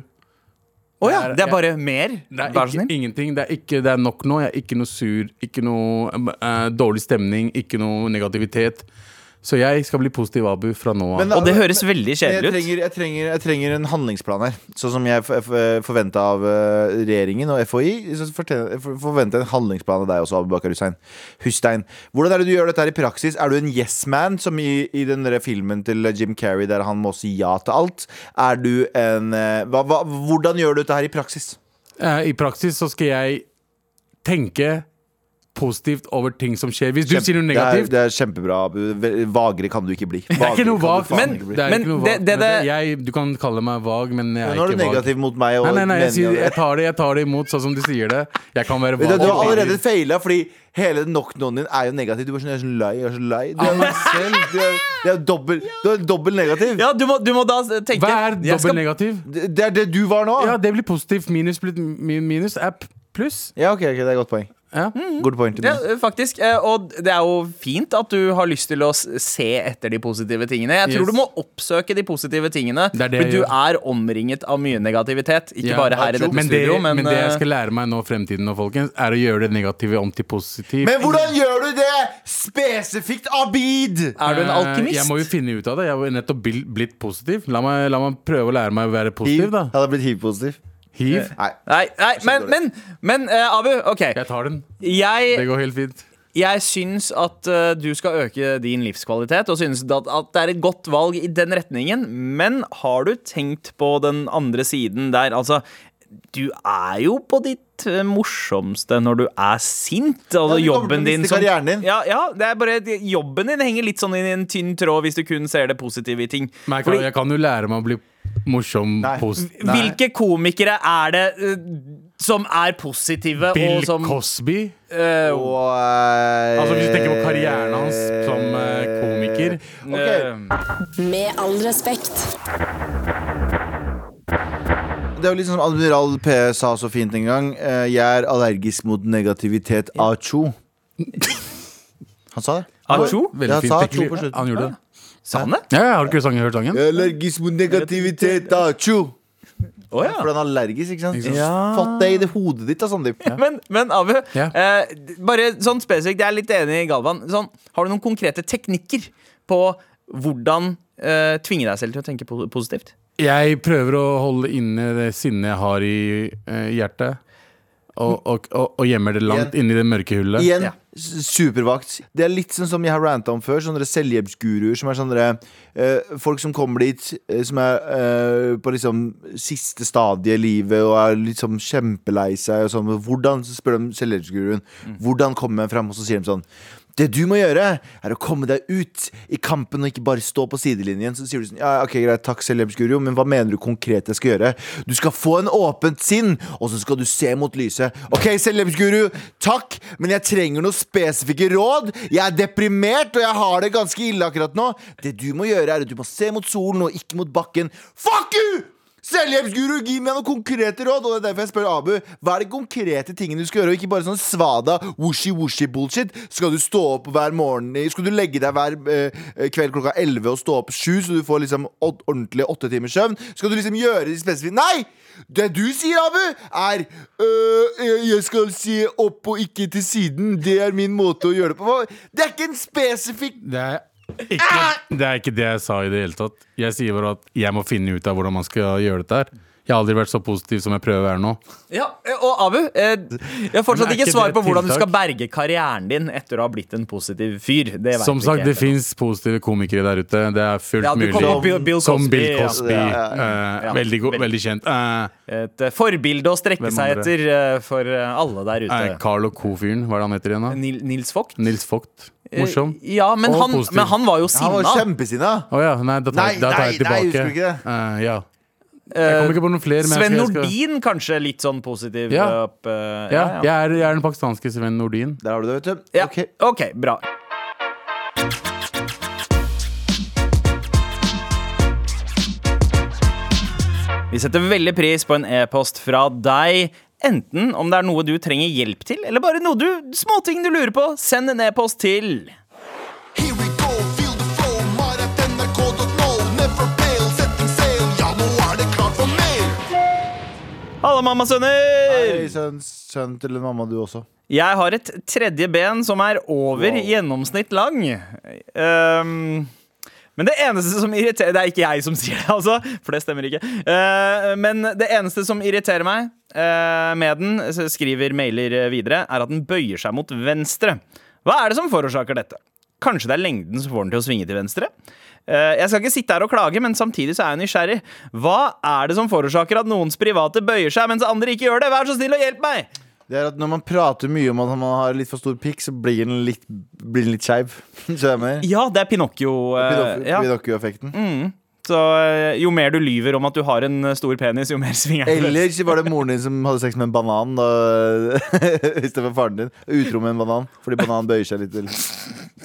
Speaker 2: Å ja, det er
Speaker 4: Det
Speaker 2: bare mer?
Speaker 4: Det er
Speaker 2: Vær så
Speaker 4: ikke,
Speaker 2: snill.
Speaker 4: ingenting. Det er, ikke, det er nok nå. Jeg er ikke noe sur, ikke noe eh, dårlig stemning, ikke noe negativitet. Så jeg skal bli positiv Abu fra nå av.
Speaker 3: Men-
Speaker 2: Og det høres veldig
Speaker 3: Jeg
Speaker 2: kjedelig ut.
Speaker 3: trenger, jeg, trenger, jeg trenger en handlingsplan her. Sånn som jeg forventa av eh, regjeringen og FHI, så forventer jeg en handlingsplan av deg også, Abubakar Hussein. Hussein. Hvordan er det du gjør dette her i praksis? Er du en yes man, som i, i den der filmen til Jim Carrey der han må si ja til alt? Er du en eh, hva, hva, Hvordan gjør du dette her i praksis?
Speaker 4: Eh, I praksis så skal jeg tenke positivt over ting som skjer. Hvis du sier noe negativt,
Speaker 3: Det er, det er kjempebra, Abu. Ve- Vagere kan du ikke bli.
Speaker 4: det er ikke noe vagt.
Speaker 2: men-
Speaker 4: det er
Speaker 2: men
Speaker 4: ikke noe
Speaker 2: det-
Speaker 4: vagt.
Speaker 2: det-
Speaker 4: Men det-
Speaker 2: det-
Speaker 4: jeg, du kan kalle meg vag, men jeg
Speaker 3: Nå
Speaker 4: er
Speaker 3: er du
Speaker 4: ikke vag.
Speaker 3: negativ mot meg. Og
Speaker 4: Nei, nei, nei, jeg,
Speaker 3: meningen
Speaker 4: sier,
Speaker 3: av det.
Speaker 4: jeg tar det jeg tar det imot, sånn som du sier det. Jeg kan være
Speaker 3: Vet du,
Speaker 4: vag.
Speaker 3: du har allerede feila, fordi hele knock-knowen din er jo negativ. Du er sånn, jeg er så lei, jeg er så lei. Du er jo selv Du er, det er jo dobbel, du er dobbel negativ.
Speaker 2: Ja, du må, du må da tenke
Speaker 4: Hva er
Speaker 2: jeg skal-
Speaker 4: dobbel negativ?
Speaker 3: Det det er det du var nå.
Speaker 4: Ja, det blir positivt. Minus, blir- min- minus er p- pluss.
Speaker 3: Ja, ok, ok, det er et godt poeng.
Speaker 4: Ja.
Speaker 3: Good point.
Speaker 2: Ja, faktisk. eh, Og det er jo fint at du har lyst til å s- se etter de positive tingene. Jeg tror
Speaker 4: Yes.
Speaker 2: du må oppsøke de positive tingene,
Speaker 4: Det er det
Speaker 2: for
Speaker 4: jeg
Speaker 2: du
Speaker 4: gjør.
Speaker 2: er omringet av mye negativitet. Ikke
Speaker 4: Ja.
Speaker 2: bare her i dette
Speaker 4: men det,
Speaker 2: studio, men,
Speaker 4: men det jeg
Speaker 2: eh,
Speaker 4: skal lære meg nå, fremtiden nå, folkens, er å gjøre det negative om til positivt.
Speaker 3: Men hvordan gjør du det spesifikt, Abid?
Speaker 2: er du en
Speaker 4: Eh,
Speaker 2: alkymist?
Speaker 4: Jeg må jo finne ut av det. Jeg har jo nettopp bil- blitt positiv. La meg, la meg prøve å lære meg å være positiv, da.
Speaker 3: Jeg hadde blitt hiv-positiv.
Speaker 4: Hiv.
Speaker 3: Nei.
Speaker 2: Nei, nei men, men, men eh, Abu, OK.
Speaker 4: Jeg tar den.
Speaker 2: Jeg
Speaker 4: Det går helt fint.
Speaker 2: Jeg syns at eh, du skal øke din livskvalitet, og synes at, at det er et godt valg i den retningen. Men har du tenkt på den andre siden der? Altså, du er jo på ditt eh, morsomste når du er sint. Altså,
Speaker 3: Ja, du kommer til å
Speaker 2: jobben din
Speaker 3: miste karrieren din.
Speaker 2: Ja, ja, det er bare Jobben din henger litt sånn i en tynn tråd hvis du kun ser det positive i ting.
Speaker 4: Men jeg
Speaker 2: Fordi-
Speaker 4: kan, jeg kan jo lære meg å bli morsom.
Speaker 3: Nei.
Speaker 4: Post.
Speaker 2: hvilke komikere er det eh, som er positive,
Speaker 4: Bill
Speaker 2: og som
Speaker 4: Cosby.
Speaker 2: eh,
Speaker 3: Og eh,
Speaker 4: Altså Hvis du tenker på karrieren hans som eh, komiker
Speaker 2: eh,
Speaker 4: eh,
Speaker 3: Ok,
Speaker 6: Med all respekt.
Speaker 3: Det er jo litt sånn som Admiral P sa så fint en gang. eh, Jeg er allergisk mot negativitet. Acho. Han sa det.
Speaker 2: Acho?
Speaker 4: Veldig
Speaker 3: Ja,
Speaker 4: fint.
Speaker 3: sa
Speaker 4: teknikk.
Speaker 3: to på slutten.
Speaker 4: Han gjorde det.
Speaker 2: Sa han det?
Speaker 4: Ja, ja, Har du ikke sangen, hørt sangen?
Speaker 3: Jeg er allergisk mot negativitet. Acho.
Speaker 2: Å ja.
Speaker 3: For han er allergisk, ikke sant?
Speaker 4: Ikke sant?
Speaker 2: Ja.
Speaker 3: Fatt det i det hodet ditt, da, Sandeep.
Speaker 2: Men, men Abu,
Speaker 4: Ja.
Speaker 2: eh, bare sånn spesifikt, jeg er litt enig i Galvan. Sånn, har du noen konkrete teknikker på hvordan eh, tvinge deg selv til å tenke po- positivt?
Speaker 4: Jeg prøver å holde inne det sinnet jeg har i eh, hjertet. Og, og, og, og gjemmer det langt inni det mørke hullet.
Speaker 3: Igjen,
Speaker 2: Ja.
Speaker 3: s- supervakt. Det er litt sånn som jeg har ranta om før. Sånne selvhjelpsguruer som er sånne eh, Folk som kommer dit, eh, som er eh, på liksom siste stadie i livet og er liksom kjempelei seg. Og sånn. Hvordan, så spør de selvhjelpsguruen hvordan komme fram, og så sier de sånn det du må gjøre, er å komme deg ut i kampen og ikke bare stå på sidelinjen. Så sier du sånn, ja, ok, greit, takk selvhjelpsguru, men hva mener du konkret jeg skal gjøre? Du skal få en åpent sinn, og så skal du se mot lyset. Ok, selvhjelpsguru, takk, men jeg trenger noen spesifikke råd. Jeg er deprimert, og jeg har det ganske ille akkurat nå. Det du må gjøre, er at du må se mot solen og ikke mot bakken. Fuck you! Selvhjelpsguru, gi meg noen konkrete råd! Og det er derfor jeg spør Abu. Hva er de konkrete tingene du skal gjøre, og ikke bare sånn svada woshi-woshi-bullshit? Skal du stå opp hver morgen i- Skal du legge deg hver eh, kveld klokka 11 og stå opp sju, så du får liksom åt- ordentlig åtte timers søvn? Skal du liksom gjøre de spesifikke Nei! Det du sier, Abu, er øh, jeg- Jeg skal se opp og ikke til siden. Det er min måte å gjøre det på. Hva- Det er ikke en spesifikk
Speaker 4: Det er, ikke, det er ikke det jeg sa i det hele tatt. Jeg sier bare at jeg må finne ut av hvordan man skal gjøre dette her. Jeg har aldri vært så positiv som jeg prøver å være nå.
Speaker 2: Ja, eh, Og Abu, eh, jeg har fortsatt
Speaker 4: Men er
Speaker 2: ikke
Speaker 4: ikke
Speaker 2: svar
Speaker 4: det
Speaker 2: på hvordan du
Speaker 4: tiltak?
Speaker 2: skal berge karrieren din etter å ha blitt en positiv fyr. Det vet
Speaker 4: Som
Speaker 2: vi
Speaker 4: sagt,
Speaker 2: ikke helt.
Speaker 4: det fins positive komikere der ute. Det er fullt
Speaker 2: Ja, du
Speaker 4: mulig.
Speaker 2: kom opp i Bill
Speaker 4: som
Speaker 2: Cosby,
Speaker 4: Bill
Speaker 2: ja.
Speaker 4: Cosby.
Speaker 3: Ja,
Speaker 4: eh,
Speaker 2: Ja,
Speaker 4: veldig, god,
Speaker 2: veldig.
Speaker 4: veldig kjent. Eh,
Speaker 2: Et eh, forbilde å strekke
Speaker 4: Hvem
Speaker 2: seg
Speaker 4: andre?
Speaker 2: etter eh, for eh, alle der ute.
Speaker 4: eh, Carlo Co-fyren, hva er det han heter igjen? da?
Speaker 2: Nil Nils Vogt?
Speaker 4: Nils Vogt. Morsom.
Speaker 2: Eh, Ja, men
Speaker 4: Og
Speaker 2: han,
Speaker 4: positiv.
Speaker 2: men han var jo sinna.
Speaker 3: Han var kjempesinna.
Speaker 4: Å ja, nei, da tar,
Speaker 3: Nei,
Speaker 4: da tar
Speaker 3: nei, nei,
Speaker 4: jeg tilbake.
Speaker 3: husker du ikke det?
Speaker 4: Eh, ja. Jeg kommer ikke på noen flere. men jeg
Speaker 2: Sven
Speaker 4: skal- jeg skal-
Speaker 2: Nordin kanskje litt sånn positiv
Speaker 4: Ja.
Speaker 2: opp eh,
Speaker 4: Ja, jeg er, jeg er den pakistanske Sven Nordin.
Speaker 3: Der har du det, vet du.
Speaker 2: Ja.
Speaker 3: Ok.
Speaker 2: ok, bra. Vi setter veldig pris på en e-post fra deg. Enten om det er noe du trenger hjelp til, eller bare noe du, småting du lurer på. Send en e-post til
Speaker 7: Here we go, feel the flow, maratnrk.no, never fail, setting sail, ja nå er det klart for mer.
Speaker 2: Halla, mammasønner!
Speaker 3: Hei, sønn, sønn til en mamma, du også.
Speaker 2: Jeg har et tredje ben som er over gjennomsnitt lang. Ehm, men det eneste som irriterer Det er ikke jeg som sier det, altså, for det stemmer ikke. Eh, men det eneste som irriterer meg eh, med den, s- skriver mailer eh, videre, er at den bøyer seg mot venstre. Hva er det som forårsaker dette? Kanskje det er lengden som får den til å svinge til venstre? Eh, Jeg skal ikke sitte her og klage, men samtidig så er jeg nysgjerrig. Hva er det som forårsaker at noens private bøyer seg, mens andre ikke gjør det? Vær så snill og hjelp meg!
Speaker 3: Det er at Når man prater mye om at man har litt for stor pikk, så blir den litt, blir den litt skeiv. Skjønner du hva jeg mener?
Speaker 2: Ja, det er Pinocchio. eh,
Speaker 3: Pinocchio-
Speaker 2: ja. Mm.
Speaker 3: Pinocchio-effekten.
Speaker 2: Så eh, jo mer du lyver om at du har en eh, stor penis, jo mer svinger den.
Speaker 3: Eller så var det moren din som hadde sex med en banan da, istedenfor faren din. Utro med en banan, fordi bananen bøyer seg litt.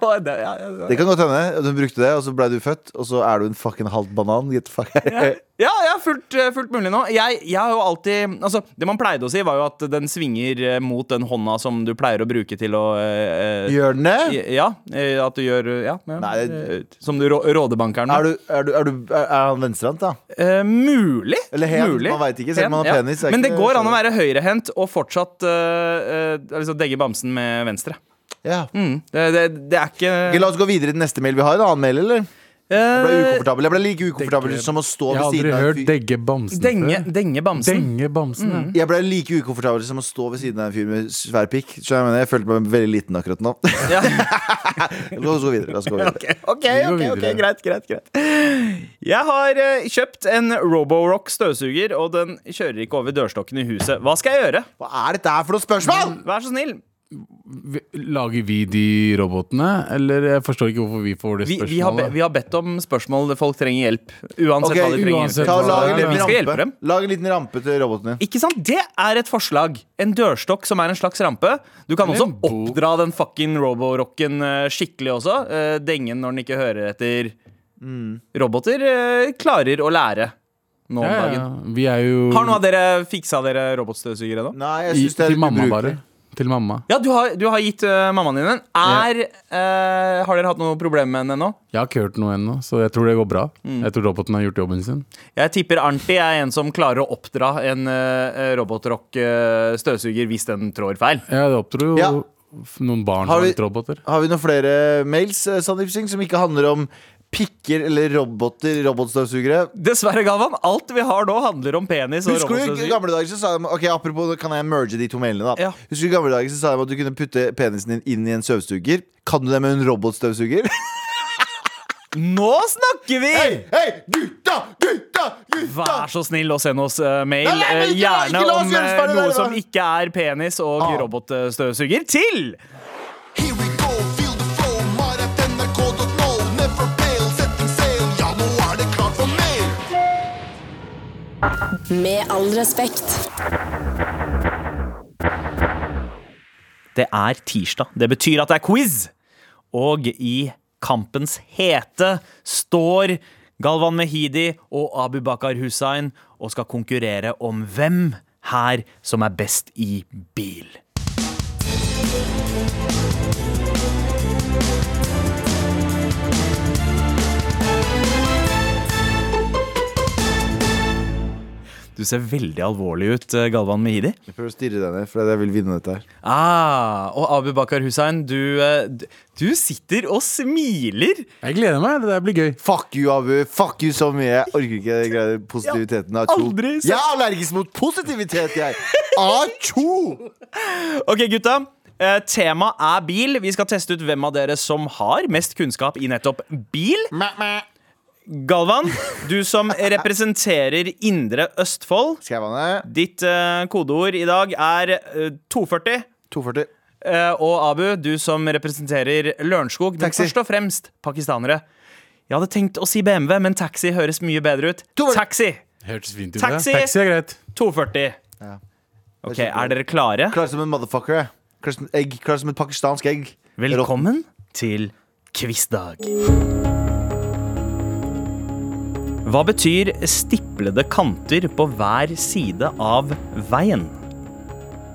Speaker 2: Å, det- ja, ja,
Speaker 3: Det kan godt hende. at Hun brukte det, og så blei du født, og så er du en fucking halvt banan. Get the fuck
Speaker 2: ja. Ja, ja, fullt, eh, fullt mulig nå. Jeg, jeg har jo alltid Altså, det man pleide å si, var jo at den svinger eh, mot den hånda som du pleier å bruke til å eh, eh,
Speaker 3: Gjør den det?
Speaker 2: Ja, eh, at du gjør eh, Ja. ja
Speaker 3: Nei,
Speaker 2: eh,
Speaker 3: det-
Speaker 2: som du rå, rådebankeren
Speaker 3: Er, du, er, du, er, du, er er han venstrehendt, da?
Speaker 2: Eh, mulig.
Speaker 3: Eller hen,
Speaker 2: mulig.
Speaker 3: man vet ikke, selv om man har
Speaker 2: Hen,
Speaker 3: penis, er
Speaker 2: Men
Speaker 3: ikke
Speaker 2: det
Speaker 3: det-
Speaker 2: går an å være høyrehendt og fortsatt eh, eh, liksom degge bamsen med venstre.
Speaker 3: Ja.
Speaker 2: Mm. Det, det, det er ikke
Speaker 3: Ok, la oss gå videre til neste mail vi har. En annen mail, eller? Jeg ble
Speaker 2: Eh,
Speaker 3: ukomfortabel. Jeg ble like ukomfortabel
Speaker 4: Denge-
Speaker 3: som å stå
Speaker 4: Eh, Jeg
Speaker 3: ved
Speaker 4: har aldri
Speaker 3: siden av en
Speaker 4: hørt
Speaker 3: fyr.
Speaker 4: Degge Bamsen
Speaker 2: Denge,
Speaker 4: før.
Speaker 2: denge bamsen. Mm.
Speaker 4: Denge Bamsen. ja.
Speaker 3: Jeg ble like ukomfortabel som å stå ved siden av en fyr med svær pikk. Så jeg, mener, jeg følte meg veldig liten akkurat nå.
Speaker 2: Ja.
Speaker 3: La oss gå videre. La oss gå videre.
Speaker 2: Ok,
Speaker 4: Vi går
Speaker 2: ok, ok,
Speaker 4: videre.
Speaker 2: greit, greit, greit. Jeg har eh, kjøpt en Roborock støvsuger, og den kjører ikke over dørstokken i huset. Hva skal jeg gjøre?
Speaker 3: Hva er dette her for noe spørsmål?!
Speaker 2: Vær så snill.
Speaker 4: Vi- Lager vi de robotene, eller jeg forstår ikke hvorfor vi får det
Speaker 2: Vi, vi, har be,
Speaker 4: spørsmålet.
Speaker 2: vi har bedt om spørsmål. Folk trenger hjelp. Uansett
Speaker 3: Ok,
Speaker 2: hva de trenger. hjelp
Speaker 4: uansett
Speaker 2: til.
Speaker 3: Ta og Lag en
Speaker 4: Vi
Speaker 3: liten
Speaker 2: skal hjelpe
Speaker 3: rampe.
Speaker 2: dem.
Speaker 3: Lag en liten rampe til roboten din.
Speaker 2: Ikke sant? Det er et forslag. En dørstokk som er en slags rampe. Du kan også
Speaker 4: en bok.
Speaker 2: oppdra den fucking roborocken eh, skikkelig også. Eh, Denge når den ikke hører etter. Roboter eh, klarer å lære nå om
Speaker 4: Mm. ja, ja,
Speaker 2: dagen.
Speaker 4: ja. vi er jo
Speaker 2: Har noen av dere fiksa dere robotstøvsugere nå?
Speaker 3: Nei, jeg
Speaker 4: i,
Speaker 3: syns det er
Speaker 4: Til mamma,
Speaker 3: ubrukelig.
Speaker 4: bare. Til mamma.
Speaker 2: Ja, du har, du har gitt eh, mammaen din en. Er, eh, har dere hatt noe problem med den ennå?
Speaker 4: Jeg har ikke hørt noe ennå, så jeg tror det går bra.
Speaker 3: Mm.
Speaker 4: Jeg tror roboten har gjort jobben sin.
Speaker 2: Jeg tipper Arnti er en som klarer å oppdra en eh, robotrock-støvsuger hvis den trår feil.
Speaker 4: Jeg oppdro jo
Speaker 3: Ja.
Speaker 4: f- noen barn
Speaker 3: Har
Speaker 4: har
Speaker 3: vi-
Speaker 4: litt roboter.
Speaker 3: Har vi noen flere mails eh, Sandeep Singh, som ikke handler om pikker eller roboter? Robotstøvsugere?
Speaker 2: Dessverre, Galvan. Alt vi har nå, handler om penis og
Speaker 3: Husker du i
Speaker 2: robotstøvsuger.
Speaker 3: gamle dager så sa de Ok, apropos, nå kan jeg merge de to mailene da
Speaker 2: Ja.
Speaker 3: Husker du i gamle dager så sa de at du kunne putte penisen din inn i en støvsuger Kan du det med en robotstøvsuger?
Speaker 2: Nå snakker vi!
Speaker 3: Hei, gutta, gutta, gutta
Speaker 2: Vær så snill å sende oss eh, mail,
Speaker 3: Nei, nei,
Speaker 2: eh,
Speaker 3: ikke-
Speaker 2: gjerne
Speaker 3: ikke la oss
Speaker 2: om
Speaker 3: gjøre
Speaker 2: eh,
Speaker 3: oss ferdig der,
Speaker 2: noe
Speaker 3: da.
Speaker 2: som ikke er penis og
Speaker 3: Ah.
Speaker 2: robotstøvsuger, til
Speaker 7: Here we go, feel the flow, maratnrk.no. Never fail, setting sail, ja, nå er det klart for mer.
Speaker 6: Med all respekt.
Speaker 2: Det er tirsdag. Det betyr at det er quiz. Og i kampens hete står Galvan Mehidi og Abubakar Hussein og skal konkurrere om hvem her som er best i bil. Du ser veldig alvorlig ut, eh, Galvan Mehidi.
Speaker 3: Jeg prøver å stirre deg ned, for jeg vil vinne dette her
Speaker 2: Ah, og Abu Bakar Hussein, du, eh, d- du sitter og smiler.
Speaker 4: Jeg gleder meg. Det der blir gøy.
Speaker 3: Fuck you, Abu, fuck you så mye Jeg orker ikke den greia- positiviteten av tjo.
Speaker 2: aldri sett-
Speaker 3: Jeg er allergisk mot positivitet, jeg A-tjo
Speaker 2: Ok, gutta. Eh, Temaet er bil. Vi skal teste ut hvem av dere som har mest kunnskap i nettopp bil. Galvan, du som representerer Indre Østfold.
Speaker 3: Skal jeg vanne?
Speaker 2: Ditt eh, kodeord i dag er eh, 240.
Speaker 3: 240
Speaker 2: Eh, og Abu, du som representerer Lørenskog, men
Speaker 3: Taxi.
Speaker 2: først og fremst pakistanere. Jeg hadde tenkt å si BMW, men taxi høres mye bedre ut. Taxi!
Speaker 4: Hørtes fint ut.
Speaker 2: Taxi!
Speaker 4: Det. Taxi er greit.
Speaker 2: 2,40. Ok, Er dere klare?
Speaker 3: Klar som en motherfucker, jeg Klar som, egg, klar som et pakistansk egg
Speaker 2: Velkommen til quizdag. Hva betyr stiplede kanter på hver side av veien?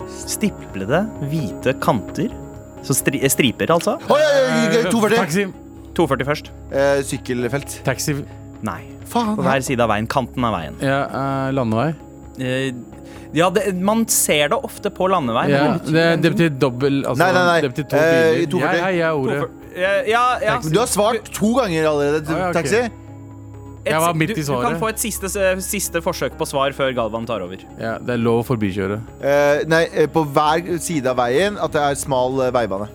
Speaker 2: Stiplede, hvite kanter. Så stri striper, altså?
Speaker 3: Oi, oi, oi, 240
Speaker 4: Taxi.
Speaker 2: 2,40 først.
Speaker 3: eh, Sykkelfelt
Speaker 4: Taxi.
Speaker 2: Nei.
Speaker 3: Faen
Speaker 2: På hver side av veien. Kanten av veien.
Speaker 4: Ja, eh, landevei.
Speaker 2: Eh, Ja, det, man ser det ofte på landevei. men
Speaker 4: Ja,
Speaker 2: det betyr
Speaker 4: det, det betyr dobbel altså,
Speaker 3: Nei, nei, nei.
Speaker 4: Det betyr to
Speaker 3: Eh,
Speaker 4: biler.
Speaker 3: 240.
Speaker 4: Jeg, jeg, jeg, er ordet.
Speaker 2: hvorfor- Eh, Ja, ja.
Speaker 3: Men Du har svart to ganger allerede til
Speaker 4: Ah, ja, ok.
Speaker 3: taxi.
Speaker 2: Et-
Speaker 4: Jeg var midt
Speaker 2: du-
Speaker 4: i
Speaker 2: Du
Speaker 4: svaret.
Speaker 2: kan få et siste, siste forsøk på svar før Galvan tar over.
Speaker 4: Ja, det er lov å forbikjøre.
Speaker 3: Eh, nei, eh, på hver side av veien at det er smal eh, veibane.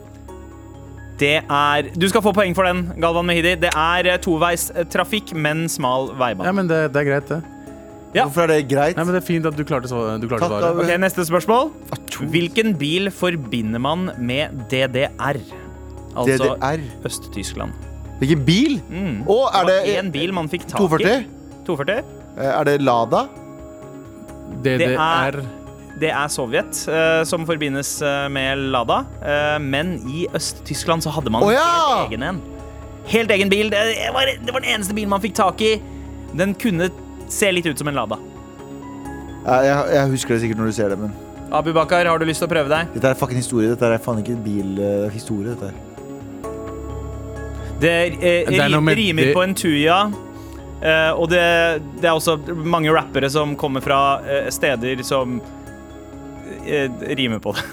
Speaker 2: Det er Du skal få poeng for den, Galvan Mehidi. Det er eh, toveis eh, trafikk, men smal
Speaker 4: Ja,
Speaker 2: veibane.
Speaker 4: men det, det er greit, det.
Speaker 2: Ja.
Speaker 3: Hvorfor er det greit?
Speaker 4: Nei, men Det er fint at du klarte, svar- du klarte
Speaker 3: Takk,
Speaker 4: svaret.
Speaker 3: Abu.
Speaker 2: Ok, Neste spørsmål. Hvilken bil forbinder man med DDR? Altså
Speaker 3: DDR.
Speaker 2: Øst-Tyskland.
Speaker 3: Hvilken bil? Og er det
Speaker 2: Én bil man fikk tak
Speaker 3: 240?
Speaker 2: i. 240?
Speaker 3: Eh, er det Lada?
Speaker 4: DDR.
Speaker 2: Det er Sovjet eh, som forbindes eh, med Lada. Eh, men i Øst-Tyskland så hadde man
Speaker 3: Å ja!
Speaker 2: helt egen en. Helt egen bil. Det var, det var den eneste bilen man fikk tak i. Den kunne se litt ut som en Lada.
Speaker 3: Eh, jeg, jeg husker det sikkert når du ser det, men
Speaker 2: Abu Bakar, har du lyst til å prøve deg?
Speaker 3: dette er fucking historie. Dette er faen ikke en bil eh, historie, dette her.
Speaker 2: Det er, eh,
Speaker 4: Det er noe med
Speaker 2: ri- rimer
Speaker 4: det-
Speaker 2: på en tuja. eh, og det, det er også mange rappere som kommer fra eh, steder som eh, rimer på det.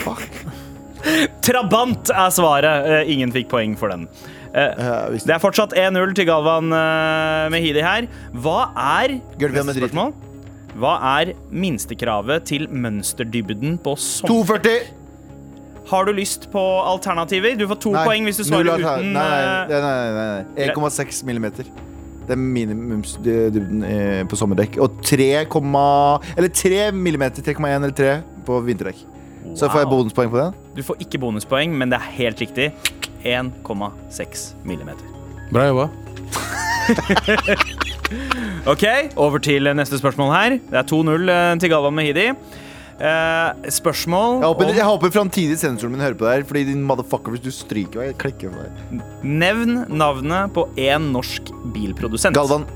Speaker 3: Fuck.
Speaker 2: Trabant er svaret. Eh, ingen fikk poeng for den. Eh,
Speaker 3: jeg visste
Speaker 2: det er fortsatt 1-0 til Galvan eh, Mehidi her. Hva er
Speaker 3: Gulvet med
Speaker 2: Neste
Speaker 3: dritt.
Speaker 2: spørsmål. Hva er minstekravet til mønsterdybden på sommer?
Speaker 3: 2,40!
Speaker 2: Har du lyst på alternativer? Du får to
Speaker 3: Nei,
Speaker 2: poeng hvis du
Speaker 3: null
Speaker 2: svarer
Speaker 3: alter-
Speaker 2: uten
Speaker 3: Nei,
Speaker 2: eh,
Speaker 3: nei, nei, nei, nei. 1,6 millimeter. Det er minimumsdybden eh, på sommerdekk. Og 3, eller 3 millimeter, 3,1 eller 3 på vinterdekk. Så får jeg
Speaker 2: Wow.
Speaker 3: bonuspoeng på den.
Speaker 2: Du får ikke bonuspoeng, men det er helt riktig. 1,6 millimeter.
Speaker 4: Bra jobba.
Speaker 2: Ok, over til neste spørsmål her. Det er 2-0 til Galvan Mehidi. Eh, spørsmål
Speaker 3: Jeg håper,
Speaker 2: om
Speaker 3: jeg håper framtidig sensoren min hører på det her, Fordi din motherfucker, hvis du stryker meg, jeg klikker for deg.
Speaker 2: Nevn navnet på én norsk bilprodusent.
Speaker 3: Galvan.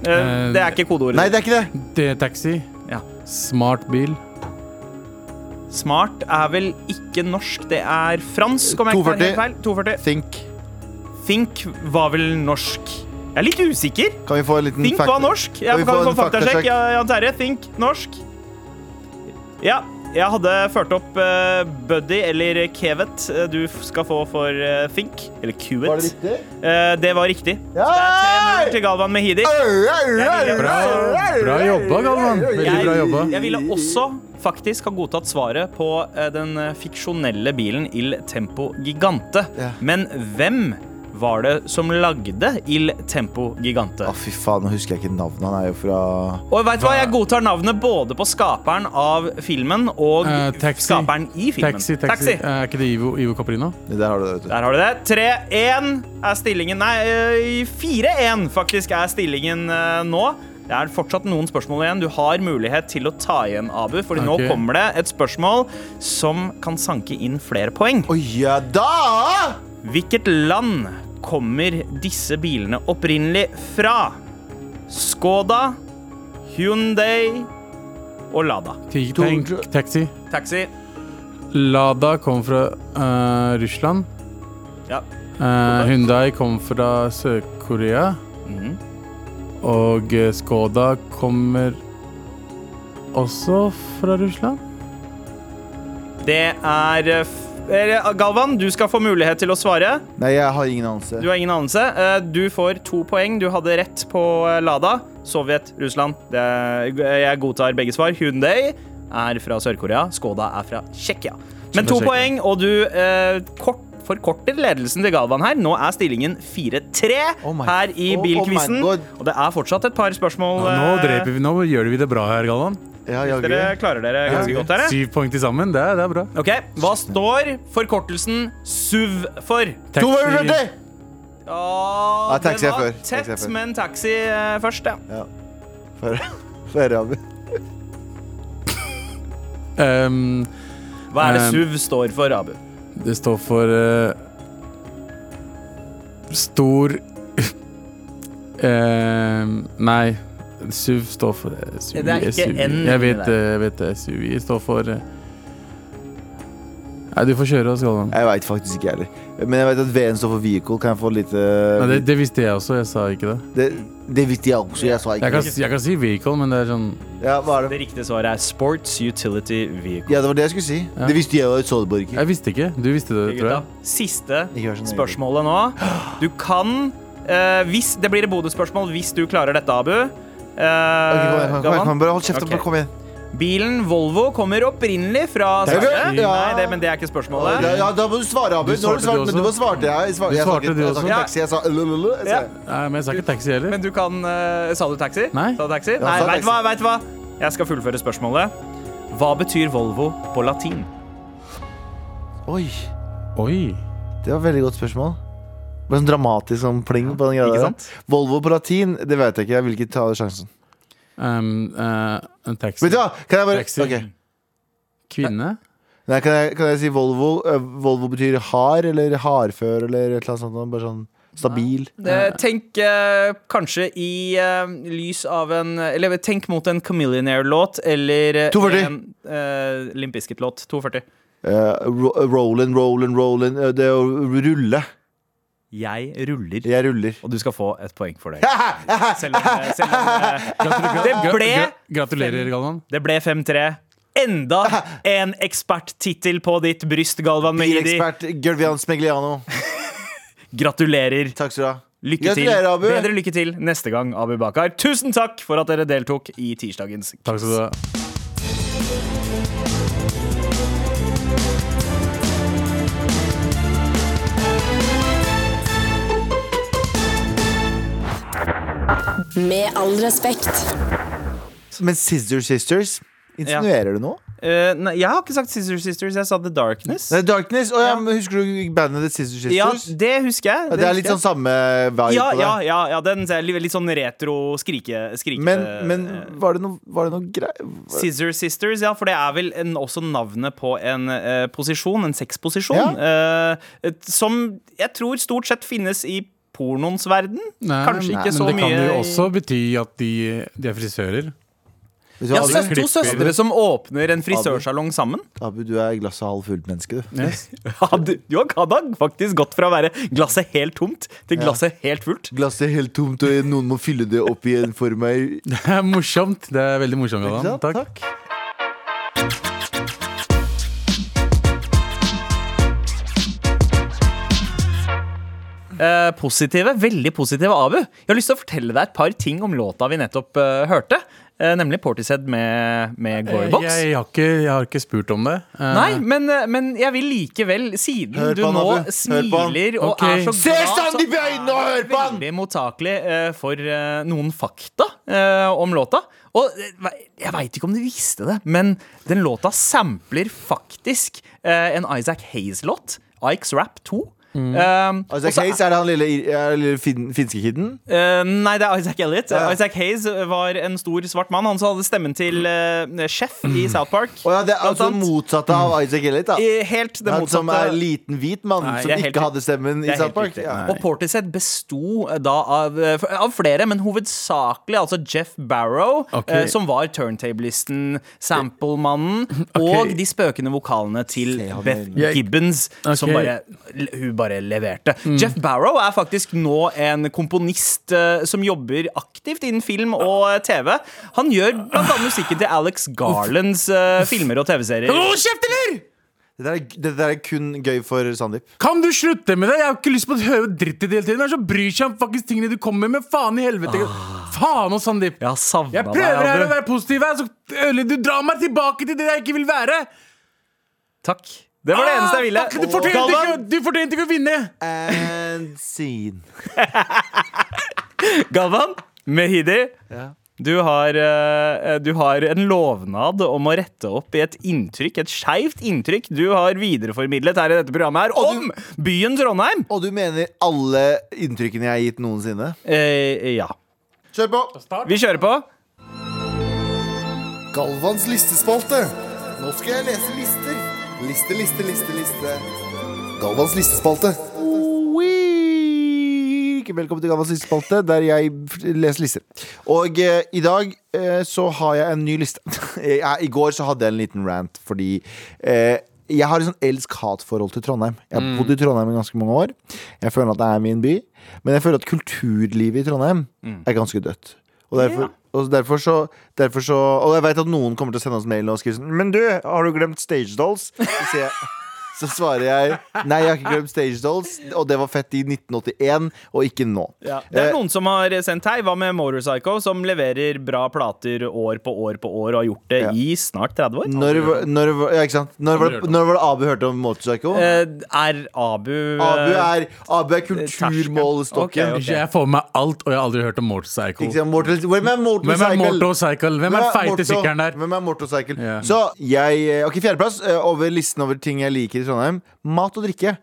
Speaker 2: Eh, det er ikke kodeordet.
Speaker 3: Nei, det er ikke det.
Speaker 4: Det er taxi.
Speaker 2: Ja.
Speaker 4: Smart bil.
Speaker 2: Smart er vel ikke norsk, det er fransk. Om jeg ikke tar helt
Speaker 3: 240.
Speaker 2: feil. 240.
Speaker 3: Think.
Speaker 2: Think var vel norsk Jeg er litt usikker.
Speaker 3: Kan vi få en liten
Speaker 2: Think
Speaker 3: fakta-
Speaker 2: var norsk. Ja,
Speaker 3: Kan vi
Speaker 2: kan
Speaker 3: få
Speaker 2: vi få
Speaker 3: en faktasjekk?
Speaker 2: faktasjekk? Ja, Jan Terje, Think norsk. Ja, jeg hadde ført opp eh, Buddy eller Kevet eh, du f- skal få for eh, Think. Eller Kuet.
Speaker 3: Var det riktig?
Speaker 2: Eh, det var riktig.
Speaker 3: Ja!
Speaker 2: Til Galvan Mehidi.
Speaker 4: Bra, bra jobba, Galvan. Veldig bra jobba.
Speaker 2: Jeg ville også faktisk ha godtatt svaret på eh, den eh, fiksjonelle bilen Il Tempo Gigante.
Speaker 3: Ja.
Speaker 2: Men hvem var det som lagde Il Tempo Gigante?
Speaker 3: Å, fy faen, nå husker jeg ikke navnet. Han er jo fra
Speaker 2: Og vet du hva, jeg godtar navnet både på skaperen av filmen og
Speaker 4: Eh, taxi.
Speaker 2: skaperen i filmen.
Speaker 4: Taxi, taxi. Eh, Er ikke det Ivo, Ivo Caprino?
Speaker 3: Der har du det, vet du.
Speaker 2: Der har du det. 3-1 er stillingen Nei, eh, 4-1 faktisk er stillingen eh, nå. Det er fortsatt noen spørsmål igjen. Du har mulighet til å ta igjen, Abu. Fordi nå
Speaker 4: Ok.
Speaker 2: kommer det et spørsmål som kan sanke inn flere poeng.
Speaker 3: Å ja da!
Speaker 2: Hvilket land kommer disse bilene opprinnelig fra? Skoda, Hyundai og Lada.
Speaker 4: Ti- Tenk, taxi.
Speaker 2: Taxi.
Speaker 4: Lada kom fra eh, Russland.
Speaker 2: Ja.
Speaker 4: Uh, Hyundai kom fra Sør-Korea.
Speaker 2: Mhm.
Speaker 4: Og eh, Skoda kommer også fra Russland.
Speaker 2: Det er eh, f- eller, Galvan, du skal få mulighet til å svare.
Speaker 3: Nei, jeg har ingen anelse.
Speaker 2: Du har ingen anelse. Eh, Du får to poeng. Du hadde rett på eh, Lada. Sovjet, Russland. Det er, jeg godtar begge svar. Hyundai er fra Sør-Korea. Skoda er fra Tsjekkia. Men to
Speaker 4: Tsjekkia.
Speaker 2: poeng, og du eh, kort, forkorter ledelsen til Galvan her. Nå er stillingen 4-3
Speaker 3: Oh my-
Speaker 2: her i
Speaker 3: Oh, oh my
Speaker 2: bilquizen.
Speaker 3: God.
Speaker 2: og det er fortsatt et par spørsmål.
Speaker 4: Nå, nå,
Speaker 2: eh,
Speaker 4: dreper vi, nå gjør vi det bra her, Galvan.
Speaker 3: Ja, jaggu.
Speaker 2: Dere klarer dere ganske godt her. eh?
Speaker 4: Syv poeng til sammen. Det er, det er bra.
Speaker 2: Ok, Hva står forkortelsen SUV for?
Speaker 4: Taxi-
Speaker 3: 240!
Speaker 2: Ja,
Speaker 3: Ja, taxi
Speaker 2: det
Speaker 3: er
Speaker 2: var
Speaker 3: før. Taxi er
Speaker 2: Tett,
Speaker 3: før.
Speaker 2: men taxi eh, først, ja.
Speaker 3: For, for Abu.
Speaker 4: Ehm,
Speaker 2: Hva er det
Speaker 3: Ehm,
Speaker 4: Eh,
Speaker 2: SUV står for, Abu?
Speaker 4: det står for eh, Stor Ehm, Nei. SUV står for eh, SUV.
Speaker 2: Det er ikke
Speaker 4: SUV.
Speaker 2: en
Speaker 4: Jeg vet,
Speaker 2: der.
Speaker 4: eh, jeg vet det. SUV står for eh, Nei, du får kjøre oss, Galvan.
Speaker 3: Jeg veit faktisk ikke, jeg heller. Men jeg vet at V-en står for vehicle. Kan jeg få lite
Speaker 4: Nei, det, det visste jeg også. Jeg sa ikke det.
Speaker 3: det, det visste jeg også. Jeg sa
Speaker 4: Jeg
Speaker 3: ikke
Speaker 4: kan, jeg kan si vehicle, men det er sånn
Speaker 3: Ja, hva er det?
Speaker 2: Det riktige svaret er Sports Utility Vehicle.
Speaker 3: Ja, det var det jeg skulle si. Det visste jeg, og jeg så det bare ikke.
Speaker 4: Jeg visste ikke. Du visste det, tror
Speaker 2: Gutta,
Speaker 4: jeg.
Speaker 2: siste
Speaker 3: Ikke vær så nøye.
Speaker 2: spørsmålet nå. Du kan eh, hvis, Det blir et bonusspørsmål hvis du klarer dette, Abu. Eh,
Speaker 3: Ok, kom igjen, kom igjen, kom igjen,
Speaker 2: Galvan?
Speaker 3: Bare hold kjeft.
Speaker 2: Ok.
Speaker 3: Bare kom igjen.
Speaker 2: Bilen Volvo kommer opprinnelig fra
Speaker 3: Taxi.
Speaker 2: Sverige.
Speaker 3: Ja.
Speaker 2: Nei, det, men det er ikke spørsmålet.
Speaker 3: Ja, ja, da må du svare, Abu.
Speaker 4: Du
Speaker 3: Nå har
Speaker 4: svarte,
Speaker 3: du
Speaker 4: du
Speaker 3: svart, men
Speaker 4: også.
Speaker 3: du svarte jeg. Jeg, svar,
Speaker 4: Du
Speaker 3: jeg,
Speaker 4: svarte,
Speaker 3: sa ikke-
Speaker 4: du
Speaker 3: jeg sa ikke
Speaker 2: også.
Speaker 3: taxi. Jeg sa lululu. Jeg sa-
Speaker 2: Ja.
Speaker 4: Nei, men jeg sa ikke taxi heller.
Speaker 2: Men du kan eh, Sa du taxi?
Speaker 4: Nei.
Speaker 2: Sa du taxi?
Speaker 3: Ja,
Speaker 2: Nei,
Speaker 3: sa
Speaker 2: veit
Speaker 3: taxi.
Speaker 2: hva, veit hva. Jeg skal fullføre spørsmålet. Hva betyr Volvo på latin?
Speaker 3: Oi,
Speaker 4: Oi.
Speaker 3: det var et veldig godt spørsmål. Det var sånn dramatisk sånn pling på den greia
Speaker 2: ikke
Speaker 3: der.
Speaker 2: sant?
Speaker 3: Volvo på latin, det vet jeg ikke. Jeg vil ikke ta sjansen.
Speaker 4: Um, eh, en taxi.
Speaker 3: Vet du hva? Kan jeg bare
Speaker 4: Taxi.
Speaker 3: Ok.
Speaker 4: Kvinne?
Speaker 3: Nei, kan, jeg, kan jeg si Volvo? Eh, Volvo betyr hard eller hardfør eller et eller annet sånt. Bare sånn stabil.
Speaker 2: Eh, Tenk eh, kanskje i eh, lys av en Eller tenk mot en Chameleonaire-låt eller eh,
Speaker 3: 240.
Speaker 2: en eh, Limp Bizkit-låt. 240.
Speaker 3: Uh, rollin, rollin, rollin. Eh, Det å rulle.
Speaker 2: Jeg ruller,
Speaker 3: Jeg ruller.
Speaker 2: og du skal få et poeng for det. Selv om, eh, selv om eh,
Speaker 4: Gratulerer,
Speaker 2: Det ble-
Speaker 4: Gratulerer, Galvan.
Speaker 2: det ble 5-3. enda en eksperttittel på ditt bryst, Galvan Mehidi.
Speaker 3: Bilekspert Gørvian Smegliano.
Speaker 2: Gratulerer.
Speaker 3: Takk skal du ha.
Speaker 2: Lykke til.
Speaker 3: Gratulerer, Abu.
Speaker 2: Bedre lykke til neste gang, Abu Bakar. Tusen takk for at dere deltok i tirsdagens
Speaker 4: Takk skal du ha.
Speaker 6: Med all respekt.
Speaker 3: Men Scissor Sisters, insinuerer du noe?
Speaker 2: Eh, nei, jeg har ikke sagt Sister Sisters, jeg sa The Darkness.
Speaker 3: Det er Darkness. Å ja, men husker du bandet The Scissor
Speaker 2: Ja,
Speaker 3: Sisters?
Speaker 2: det husker jeg.
Speaker 3: Ja, det er litt
Speaker 2: husker
Speaker 3: sånn
Speaker 2: jeg.
Speaker 3: samme vibe
Speaker 2: ja,
Speaker 3: på det.
Speaker 2: ja, ja, ja, den ser litt litt sånn retro skrike... skrike
Speaker 3: Men, men
Speaker 2: eh,
Speaker 3: var det noe, var det noe grei...
Speaker 2: Scissor Sisters, ja, for det er vel en, også navnet på en eh, posisjon, en sexposisjon, eh, et- som jeg tror stort sett finnes i pornoens verden. Kanskje ikke så
Speaker 4: men det
Speaker 2: mye.
Speaker 4: kan jo
Speaker 2: i-
Speaker 4: også bety at de, de er frisører.
Speaker 3: Vet du
Speaker 2: ja,
Speaker 3: hva,
Speaker 2: søs,
Speaker 3: Abu?
Speaker 2: Altså, to søstre som åpner en frisørsalong sammen.
Speaker 3: Abu, du er glasset halvt fullt menneske, du.
Speaker 2: Ja, du, du har kan da faktisk gått fra å være glasset helt tomt til glasset helt fullt.
Speaker 3: Glasset er helt tomt, og noen må fylle det opp igjen for meg.
Speaker 4: Det er morsomt. Det er veldig morsomt. Galvan.
Speaker 3: Takk.
Speaker 4: Takk.
Speaker 3: Takk.
Speaker 2: Eh, positive, veldig positive Abu. Jeg har lyst til å fortelle deg et par ting om låta vi nettopp eh, hørte. Eh, nemlig Portishead med, med
Speaker 3: Eh,
Speaker 2: Glorybox.
Speaker 4: Jeg har, ikke, jeg har ikke spurt om det. Eh,
Speaker 2: Nei, men, men jeg vil likevel, siden
Speaker 3: Hør på
Speaker 2: du
Speaker 3: han,
Speaker 2: nå
Speaker 3: Abu. Hør på han.
Speaker 2: smiler og
Speaker 4: Ok.
Speaker 2: er så
Speaker 3: Se sannheten i
Speaker 2: glad,
Speaker 3: øynene og hør på han!
Speaker 2: veldig mottakelig eh, for eh, noen fakta eh, om låta. Og eh, ve- jeg veit ikke om du visste det, men den låta sampler faktisk eh, en Isaac Hayes-låt. Ikes Rap 2. Eh,
Speaker 3: Altså,
Speaker 2: og så
Speaker 3: Case, er det han lille, er det lille fin, finske kiden?
Speaker 2: Eh, nei, det er Isaac Elliot.
Speaker 3: Ja.
Speaker 2: Isaac Hayes var en stor svart mann. Han som hadde stemmen til eh, Chef i South Park.
Speaker 3: Å ja, det er
Speaker 2: blant
Speaker 3: altså
Speaker 2: annet.
Speaker 3: motsatte av Isaac Elliot, da.
Speaker 2: Eh, Helt det
Speaker 3: Han
Speaker 2: motsatte.
Speaker 3: som er liten hvit mann,
Speaker 2: Nei,
Speaker 3: som
Speaker 2: det er
Speaker 3: ikke
Speaker 2: helt-
Speaker 3: hadde stemmen
Speaker 2: Det
Speaker 3: i
Speaker 2: er
Speaker 3: South
Speaker 2: helt
Speaker 3: Park.
Speaker 2: riktig.
Speaker 3: Ja.
Speaker 2: Og Portishead besto eh, da av, av flere, men hovedsakelig altså Jeff Barrow,
Speaker 4: Ok.
Speaker 2: eh, som var turntablisten, samplemannen, og de spøkende vokalene til Beth
Speaker 4: Jeg-
Speaker 2: Gibbons, som
Speaker 4: Ok. Mm.
Speaker 2: bare, hun bare leverte. Jeff Barrow er faktisk nå en komponist eh, som jobber aktivt innen film og eh, TV. Han gjør blant annet musikken til Alex Garlands eh, filmer og TV-serier.
Speaker 3: Det, der, er- det der er kun gøy for Sandeep.
Speaker 4: Kan du slutte med det? Jeg har ikke lyst på å høre dritt i det hele tiden. Jeg er så bryr seg om fuckings tingene du kommer med. Faen i helvete.
Speaker 2: Ah.
Speaker 4: Faen og Sandeep.
Speaker 2: Jeg har savna
Speaker 4: Jeg
Speaker 2: deg,
Speaker 4: prøver her å
Speaker 2: Abu.
Speaker 4: være positiv, her, så ødelegger du drar meg tilbake til det jeg ikke vil være.
Speaker 2: Takk. Det var det eneste jeg ville.
Speaker 4: Ah, fuck, du fortjente ikke,
Speaker 2: Galvan,
Speaker 4: du fortjente ikke å vinne.
Speaker 3: And scene.
Speaker 2: Galvan Mehidi. Du har, eh, du har en lovnad om å rette opp i et inntrykk, et skeivt inntrykk du har videreformidlet her i dette programmet her om byen Trondheim.
Speaker 3: Og du mener alle inntrykkene jeg har gitt noensinne?
Speaker 2: Eh, ja.
Speaker 3: Kjør på!
Speaker 2: Vi kjører på.
Speaker 7: Galvans listespalte. Nå skal jeg lese lister. Liste, liste, liste, liste. Galvans listespalte.
Speaker 3: Week. Velkommen til Gammals listespalte, der jeg f- leser lister. Og eh, i dag eh, så har jeg en ny liste. jeg, I går så hadde jeg en liten rant fordi eh, jeg har et sånn elsk-hat-forhold til Trondheim. Jeg har bodd i Trondheim i ganske mange år. Jeg føler at det er min by. Men jeg føler at kulturlivet i Trondheim er ganske dødt. Og derfor, og derfor, så, derfor så Og jeg veit at noen kommer til å sende oss mail og skrive sånn Men du, har du glemt Stage Dolls? Så sier jeg så svarer jeg Nei, jeg har ikke glemt Stage Dolls, og det var fett i 1981, og ikke nå.
Speaker 2: Det er
Speaker 3: Eh,
Speaker 2: noen som har sendt hei. Hva med Motorpsycho, som leverer bra plater år på år på år og har gjort det
Speaker 3: Ja.
Speaker 2: i snart 30 år?
Speaker 3: når, var- når, var- ja, ikke sant? når, var det, når var det Abu hørte om Motorpsycho?
Speaker 2: Eh, er Abu eh,
Speaker 3: Abu er, Abu er kulturmålestokken.
Speaker 2: Ok, ok.
Speaker 4: Jeg får med meg alt, og jeg har aldri hørt om
Speaker 3: Ikke
Speaker 4: motorcycle.
Speaker 3: sant? Mortal- Hvem er
Speaker 4: Hvem er
Speaker 3: Motorpsycho?
Speaker 4: motorcycle? Hvem er feite
Speaker 3: Morto-
Speaker 4: sykkelen der?
Speaker 3: Hvem er motorcycle?
Speaker 4: Ja.
Speaker 3: Så jeg Ok, fjerdeplass eh, over listen over ting jeg liker i Trondheim. Mat og drikke.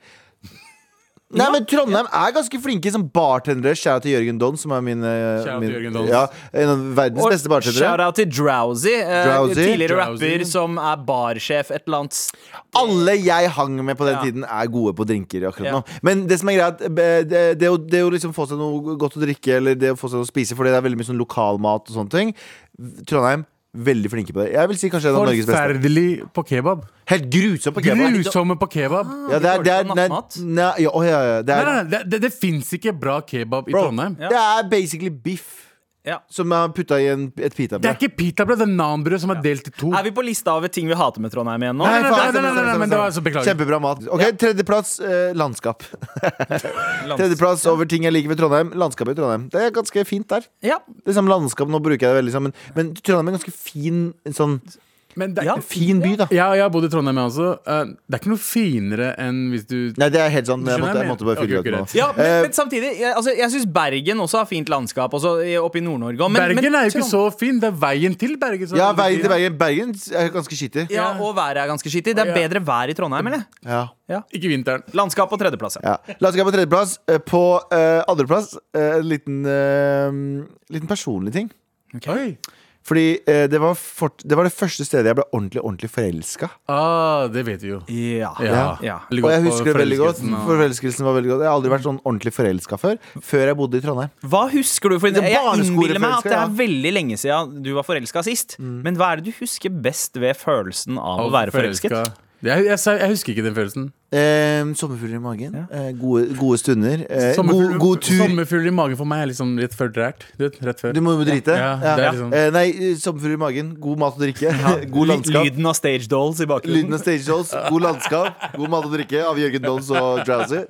Speaker 3: Nei, men Trondheim er ganske flinke som bartendere. Shout out til Jørgen Dons, som er min, eh,
Speaker 4: Shout out
Speaker 3: min
Speaker 4: til Jørgen Dons.
Speaker 3: ja, En av verdens beste bartendere.
Speaker 2: Shout-out til Drowsy, eh,
Speaker 3: Drowsy.
Speaker 2: tidligere
Speaker 4: Drowsy.
Speaker 2: rapper som er barsjef et eller annet sted.
Speaker 3: Alle jeg hang med på den
Speaker 2: Ja.
Speaker 3: tiden, er gode på drinker akkurat
Speaker 2: Ja.
Speaker 3: nå. Men det som er greit, det, det, å, det å liksom få seg noe godt å drikke, eller det å få seg noe å spise, for det er veldig mye sånn lokalmat og sånne ting. Trondheim, veldig flinke på det. Jeg vil si kanskje en av Norges beste.
Speaker 4: Forferdelig på kebab.
Speaker 3: Helt grusom på kebab. Ah.
Speaker 4: Grusomme på kebab. Nei,
Speaker 3: Ja, det er, det er,
Speaker 2: Dårlig på
Speaker 3: nei,
Speaker 2: nattmat.
Speaker 3: nei, ja, å, ja, ja, det
Speaker 4: nei,
Speaker 3: er,
Speaker 4: nei, det, det, det fins ikke bra kebab i
Speaker 3: Bro.
Speaker 4: Trondheim.
Speaker 3: det er basically biff.
Speaker 2: Ja.
Speaker 3: Som er putta i en, et
Speaker 4: Det er
Speaker 3: pitabrød.
Speaker 4: ikke pitabrød, det er nanbrød som er delt i to.
Speaker 2: Er vi på lista over ting vi hater med Trondheim igjen nå?
Speaker 3: Nei,
Speaker 2: eller?
Speaker 3: faen,
Speaker 4: nei, nei,
Speaker 3: stemmer,
Speaker 4: nei, nei,
Speaker 3: stemmer,
Speaker 4: men det var
Speaker 3: stemmer.
Speaker 4: altså- beklager.
Speaker 3: Kjempebra mat. Ok, Tredjeplass eh, landskap. Tredjeplass over ting jeg liker ved Trondheim. Landskapet i Trondheim. Det er ganske fint der.
Speaker 2: Ja.
Speaker 3: Det er samme landskap, nå bruker jeg det veldig sammen. Men Trondheim er en ganske fin sånn
Speaker 4: Men det er
Speaker 2: Ja.
Speaker 4: ikke-
Speaker 3: Fin by, da.
Speaker 4: Ja, jeg har bodd i Trondheim, jeg også. Eh, Det er ikke noe finere enn hvis du
Speaker 3: Nei, det er helt sånn.
Speaker 4: Du
Speaker 3: Jeg
Speaker 4: skjønner
Speaker 3: måtte,
Speaker 4: jeg
Speaker 3: jeg måtte bare
Speaker 4: mener.
Speaker 3: fylle
Speaker 4: Ok,
Speaker 3: ut nå.
Speaker 4: greit.
Speaker 2: Ja, men,
Speaker 3: Eh,
Speaker 2: men samtidig, jeg, altså, jeg syns Bergen også har fint landskap, også i- oppe i Nord-Norge. også, men-
Speaker 4: Bergen
Speaker 2: men
Speaker 4: er jo ikke
Speaker 2: Trond-
Speaker 4: så fin. Det er veien til Bergen. som
Speaker 3: ja,
Speaker 4: er
Speaker 3: veien til Bergen.
Speaker 4: fin.
Speaker 3: Bergen er ganske skittig.
Speaker 2: Ja, og været er ganske skittig. Det er
Speaker 4: Ja.
Speaker 2: bedre vær i Trondheim, eller?
Speaker 3: Ja.
Speaker 4: Ikke vinteren.
Speaker 2: Landskap på tredjeplass. Ja.
Speaker 3: Ja. Landskap på tredjeplass. Eh, På eh, andreplass eh, en liten, eh, liten personlig ting.
Speaker 4: Oi.
Speaker 3: Fordi eh, det, var fort, det var det første stedet jeg ble ordentlig ordentlig forelska.
Speaker 4: Ah, det vet vi jo.
Speaker 2: Ja. Ja.
Speaker 3: Og
Speaker 4: Veldig godt
Speaker 3: jeg
Speaker 4: på
Speaker 3: husker det veldig godt.
Speaker 4: forelskelsen og-
Speaker 3: Forelskelsen var veldig godt Jeg har aldri vært sånn ordentlig forelska før. Før jeg bodde i Trondheim.
Speaker 2: Hva husker du? For
Speaker 3: Det er
Speaker 2: jeg innbiller meg at
Speaker 3: barneskoleforelska,
Speaker 2: det er
Speaker 3: ja.
Speaker 2: veldig lenge siden du var forelska sist. Men hva er det du husker best ved følelsen av å
Speaker 4: Av
Speaker 2: være forelsket?
Speaker 4: Jeg, jeg, sa- jeg husker ikke den følelsen.
Speaker 3: Eh, sommerfugler i magen. Eh, gode, gode stunder. Eh, god,
Speaker 4: Sommerfugl-
Speaker 3: god tur.
Speaker 4: Sommerfugler i magen for meg er liksom rett før drært. Du vet, rett før.
Speaker 3: Du må jo drite.
Speaker 4: Ja, det er liksom-
Speaker 3: Eh, nei, eh, sommerfugler i magen. God mat og drikke. God
Speaker 2: Ly-
Speaker 3: landskap.
Speaker 2: Lyden av stage dolls i
Speaker 3: Lyden
Speaker 2: bakgrunnen.
Speaker 3: av stage shows, god landskap, god mat og drikke av Jørgen Dons og Drowsy.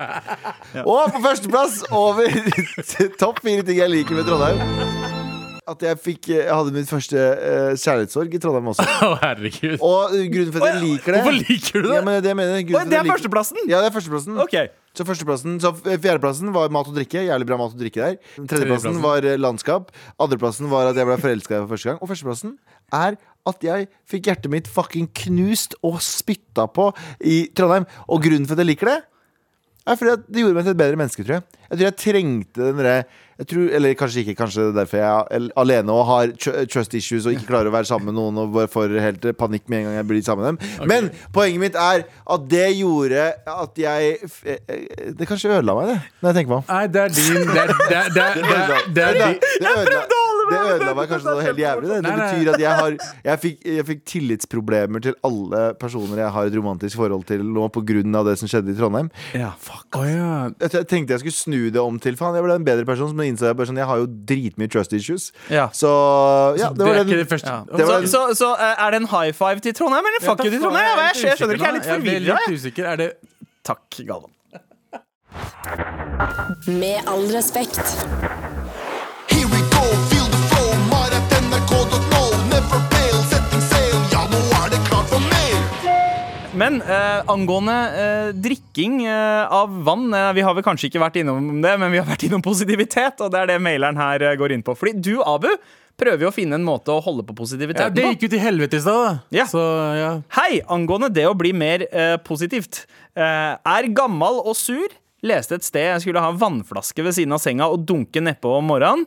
Speaker 3: Og på førsteplass over topp fire ting jeg liker med Trondheim. At jeg, fikk, jeg hadde min første eh, kjærlighetssorg i Trondheim også.
Speaker 4: Å, herregud.
Speaker 3: Og grunnen for at jeg liker det
Speaker 4: Hvorfor liker du det?
Speaker 3: Ja, men det, er det jeg mener,
Speaker 2: Oi,
Speaker 3: grunnen for
Speaker 2: det
Speaker 3: at
Speaker 2: er
Speaker 3: jeg liker-
Speaker 2: førsteplassen!
Speaker 3: Ja, det er førsteplassen.
Speaker 2: Ok.
Speaker 3: Så førsteplassen, så f- fjerdeplassen var mat og drikke. Jævlig bra mat og drikke der. Tredjeplassen
Speaker 4: Tredjeplassen.
Speaker 3: var eh, landskap. Andreplassen var at jeg ble forelska for første gang. Og førsteplassen er at jeg fikk hjertet mitt fucking knust og spytta på i Trondheim. Og grunnen for at jeg liker det, er fordi at det gjorde meg til et bedre menneske, tror jeg. Jeg tror jeg trengte den derre jeg tror- Eller kanskje ikke, kanskje det er derfor jeg er al- alene og har tr- trust issues og ikke klarer å være sammen med noen og bare får helt panikk med en gang jeg blir sammen med dem. Men poenget mitt er at det gjorde at jeg f- eh, eh, Det kanskje ødela meg, det, når jeg tenker meg om.
Speaker 4: Nei, det er din Det er, det er, det er, det er, det er,
Speaker 3: Det,
Speaker 4: din-
Speaker 3: det, ødela, det ødela meg kanskje noe helt jævlig. Det, det
Speaker 4: Nei, nei.
Speaker 3: betyr at jeg, har, jeg, fikk, jeg fikk tillitsproblemer til alle personer jeg har et romantisk forhold til nå, på grunn av det som skjedde i Trondheim.
Speaker 4: Å, ja.
Speaker 3: Jeg jeg tenkte jeg skulle snu det om til faen, jeg ble en bedre person, men innså jeg bare sånn, jeg har jo dritmye trust issues.
Speaker 2: Ja.
Speaker 3: Så ja, det
Speaker 4: Det
Speaker 3: var
Speaker 4: er ikke
Speaker 3: den.
Speaker 4: det første.
Speaker 3: Det
Speaker 2: Så,
Speaker 3: var-
Speaker 2: så, så eh, er det en high five til Trondheim, eller fuck you til Trondheim? Jeg, jeg, jeg skjønner ikke, jeg er litt
Speaker 4: Jeg
Speaker 2: forvirra.
Speaker 4: er litt usikker. Er det
Speaker 2: Takk, Galvan.
Speaker 6: Med all respekt.
Speaker 7: Here we go, feel the flow, Marat NRK.no, never fail, setting sail, ja nå er det klart for mail.
Speaker 2: Men eh, angående eh, drikking eh, av vann eh, Vi har vel kanskje ikke vært innom det, men vi har vært innom positivitet. Og det er det maileren her eh, går inn på. Fordi du, Abu, prøver jo å finne en måte å holde på
Speaker 4: ja,
Speaker 2: positiviteten
Speaker 4: Det
Speaker 2: på.
Speaker 4: gikk jo til helvete i stad, da.
Speaker 2: Ja.
Speaker 4: Så ja.
Speaker 2: Hei! Angående det å bli mer eh, positivt. Eh, er gammal og sur. Leste et sted jeg skulle ha en vannflaske ved siden av senga og dunke nedpå om morgenen.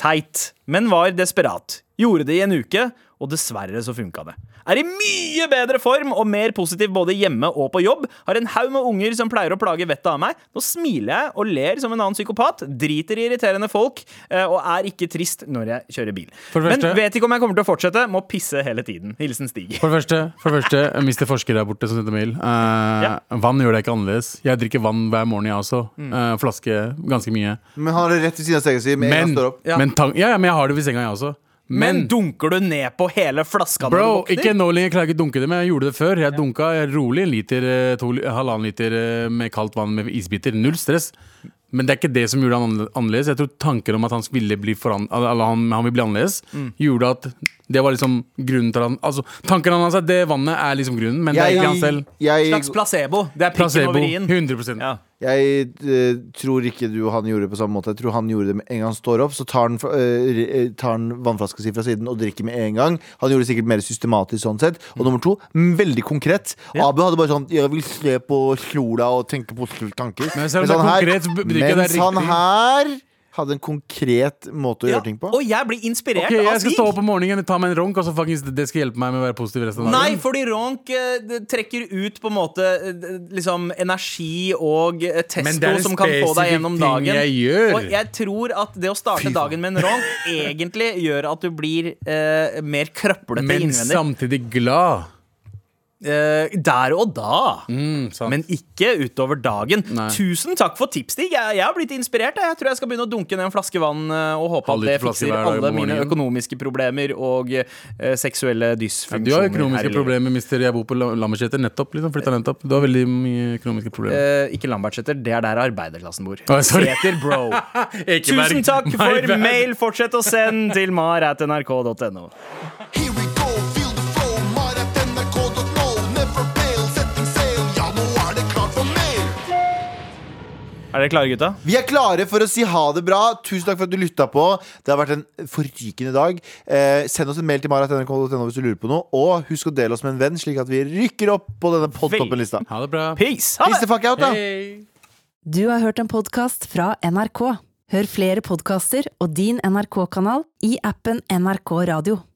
Speaker 2: Teit, men var desperat. Gjorde det i en uke, og dessverre så funka det. Er i mye bedre form og mer positiv både hjemme og på jobb. Har en haug med unger som pleier å plage vettet av meg. Nå smiler jeg og ler som en annen psykopat. Driter i irriterende folk eh, og er ikke trist når jeg kjører bil.
Speaker 4: For det
Speaker 2: Men
Speaker 4: første-
Speaker 2: vet ikke om jeg kommer til å fortsette. Må pisse hele tiden. Hilsen Stig.
Speaker 4: For det første, for det første Mr. Forsker der borte som sendte mail. Eh, Vann gjør deg ikke annerledes. Jeg drikker vann hver morgen, jeg også. Eh, flaske ganske mye.
Speaker 3: Men han har det rett ved siden av senga si med en gang
Speaker 4: Men,
Speaker 3: han står opp.
Speaker 2: Ja.
Speaker 4: men, tang, ja, ja, men jeg har det ved senga, jeg også.
Speaker 2: Men,
Speaker 4: Men,
Speaker 2: dunker du ned på hele flaska når
Speaker 4: bro,
Speaker 2: du våkner?
Speaker 4: ikke nå lenger. Jeg klarer ikke å dunke det, men jeg gjorde det før. Jeg dunka rolig en liter, eh, to, halvannen liter eh, med kaldt vann med isbiter. Null stress. Men det er ikke det som gjorde han annerle- annerledes. Jeg tror tanken om at han ville bli, foran, eller han, han ville bli annerledes,
Speaker 2: Mm.
Speaker 4: gjorde at det var liksom grunnen til at han Altså, tanken hans er at det vannet er liksom grunnen, men det er ikke han selv.
Speaker 3: jeg,
Speaker 2: Slags placebo. Det er prikken
Speaker 4: Placebo.
Speaker 2: over i-en.
Speaker 4: 100
Speaker 2: Ja.
Speaker 3: jeg, eh, tror ikke du og han gjorde det på samme måte. Jeg tror han gjorde det med en gang han står opp. Så tar han, fra- eh, ri- eh, tar han vannflaska si fra siden og drikker med en gang. Han gjorde det sikkert mer systematisk sånn sett. Og nummer to, mm, veldig konkret. Abu hadde bare sånn Jeg vil se på sola og tenke positive tanker.
Speaker 4: Men selv om det er konkret, så betyr ikke det er
Speaker 3: mens han
Speaker 4: riktig.
Speaker 3: her hadde en konkret måte å
Speaker 2: Ja.
Speaker 3: gjøre ting på.
Speaker 2: Og jeg blir inspirert
Speaker 4: Ok,
Speaker 2: av
Speaker 4: jeg skal
Speaker 2: Stig.
Speaker 4: stå opp om morgenen, ta meg en ronk, og så fuckings det skal hjelpe meg med å være positiv resten av dagen.
Speaker 2: Nei, fordi Ronk eh, det trekker ut på en måte eh, d- liksom energi og eh,
Speaker 4: Men det er
Speaker 2: testo
Speaker 4: en
Speaker 2: som kan få deg
Speaker 4: spesifikk
Speaker 2: gjennom
Speaker 4: ting
Speaker 2: dagen.
Speaker 4: jeg gjør.
Speaker 2: Og jeg tror at det å starte
Speaker 4: Fy faen.
Speaker 2: dagen med en Ronk egentlig gjør at du blir eh, mer krøplete
Speaker 4: Men
Speaker 2: innvendig.
Speaker 4: samtidig glad.
Speaker 2: eh, der og da.
Speaker 4: Mm, sant.
Speaker 2: Men ikke utover dagen.
Speaker 4: Nei.
Speaker 2: Tusen takk for tips, Stig. Jeg, jeg har blitt inspirert. jeg. Jeg tror jeg skal begynne å dunke ned en flaske vann eh, og håpe at
Speaker 4: Halvliter
Speaker 2: det
Speaker 4: flaske
Speaker 2: fikser
Speaker 4: hver dag
Speaker 2: alle
Speaker 4: på
Speaker 2: mine
Speaker 4: morgenen.
Speaker 2: økonomiske problemer og eh, seksuelle
Speaker 4: Ja,
Speaker 2: dysfunksjoner.
Speaker 4: Du har
Speaker 2: her i
Speaker 4: økonomiske
Speaker 2: livet.
Speaker 4: problemer, mister. Jeg bor på La- Lammerseter. Nettopp. liksom Flytta nettopp. Du har veldig mye økonomiske problemer.
Speaker 2: Eh, ikke Lambertseter, det er der arbeiderklassen bor.
Speaker 4: Å, sorry.
Speaker 2: Seter, bro. Tusen takk for mail. Fortsett å sende til mar.nrk.no.
Speaker 7: Here we go, feel the flow, mar at nrk.no. Never fail, setting sail, ja, nå er det klart for mer.
Speaker 2: Er dere klare, gutta?
Speaker 3: Vi er klare for å si ha det bra. Tusen takk for at du lytta på. Det har vært en forrykende dag. Eh, send oss en mail til maratnrk.no hvis du lurer på noe. Og husk å dele oss med en venn, slik at vi rykker opp på denne podtoppen-lista.
Speaker 4: Ha det bra.
Speaker 2: Peace! Ha det!
Speaker 3: Peace the fuck out, da!
Speaker 1: Du har hørt en podkast fra NRK. Hør flere podkaster og din NRK-kanal i appen NRK Radio.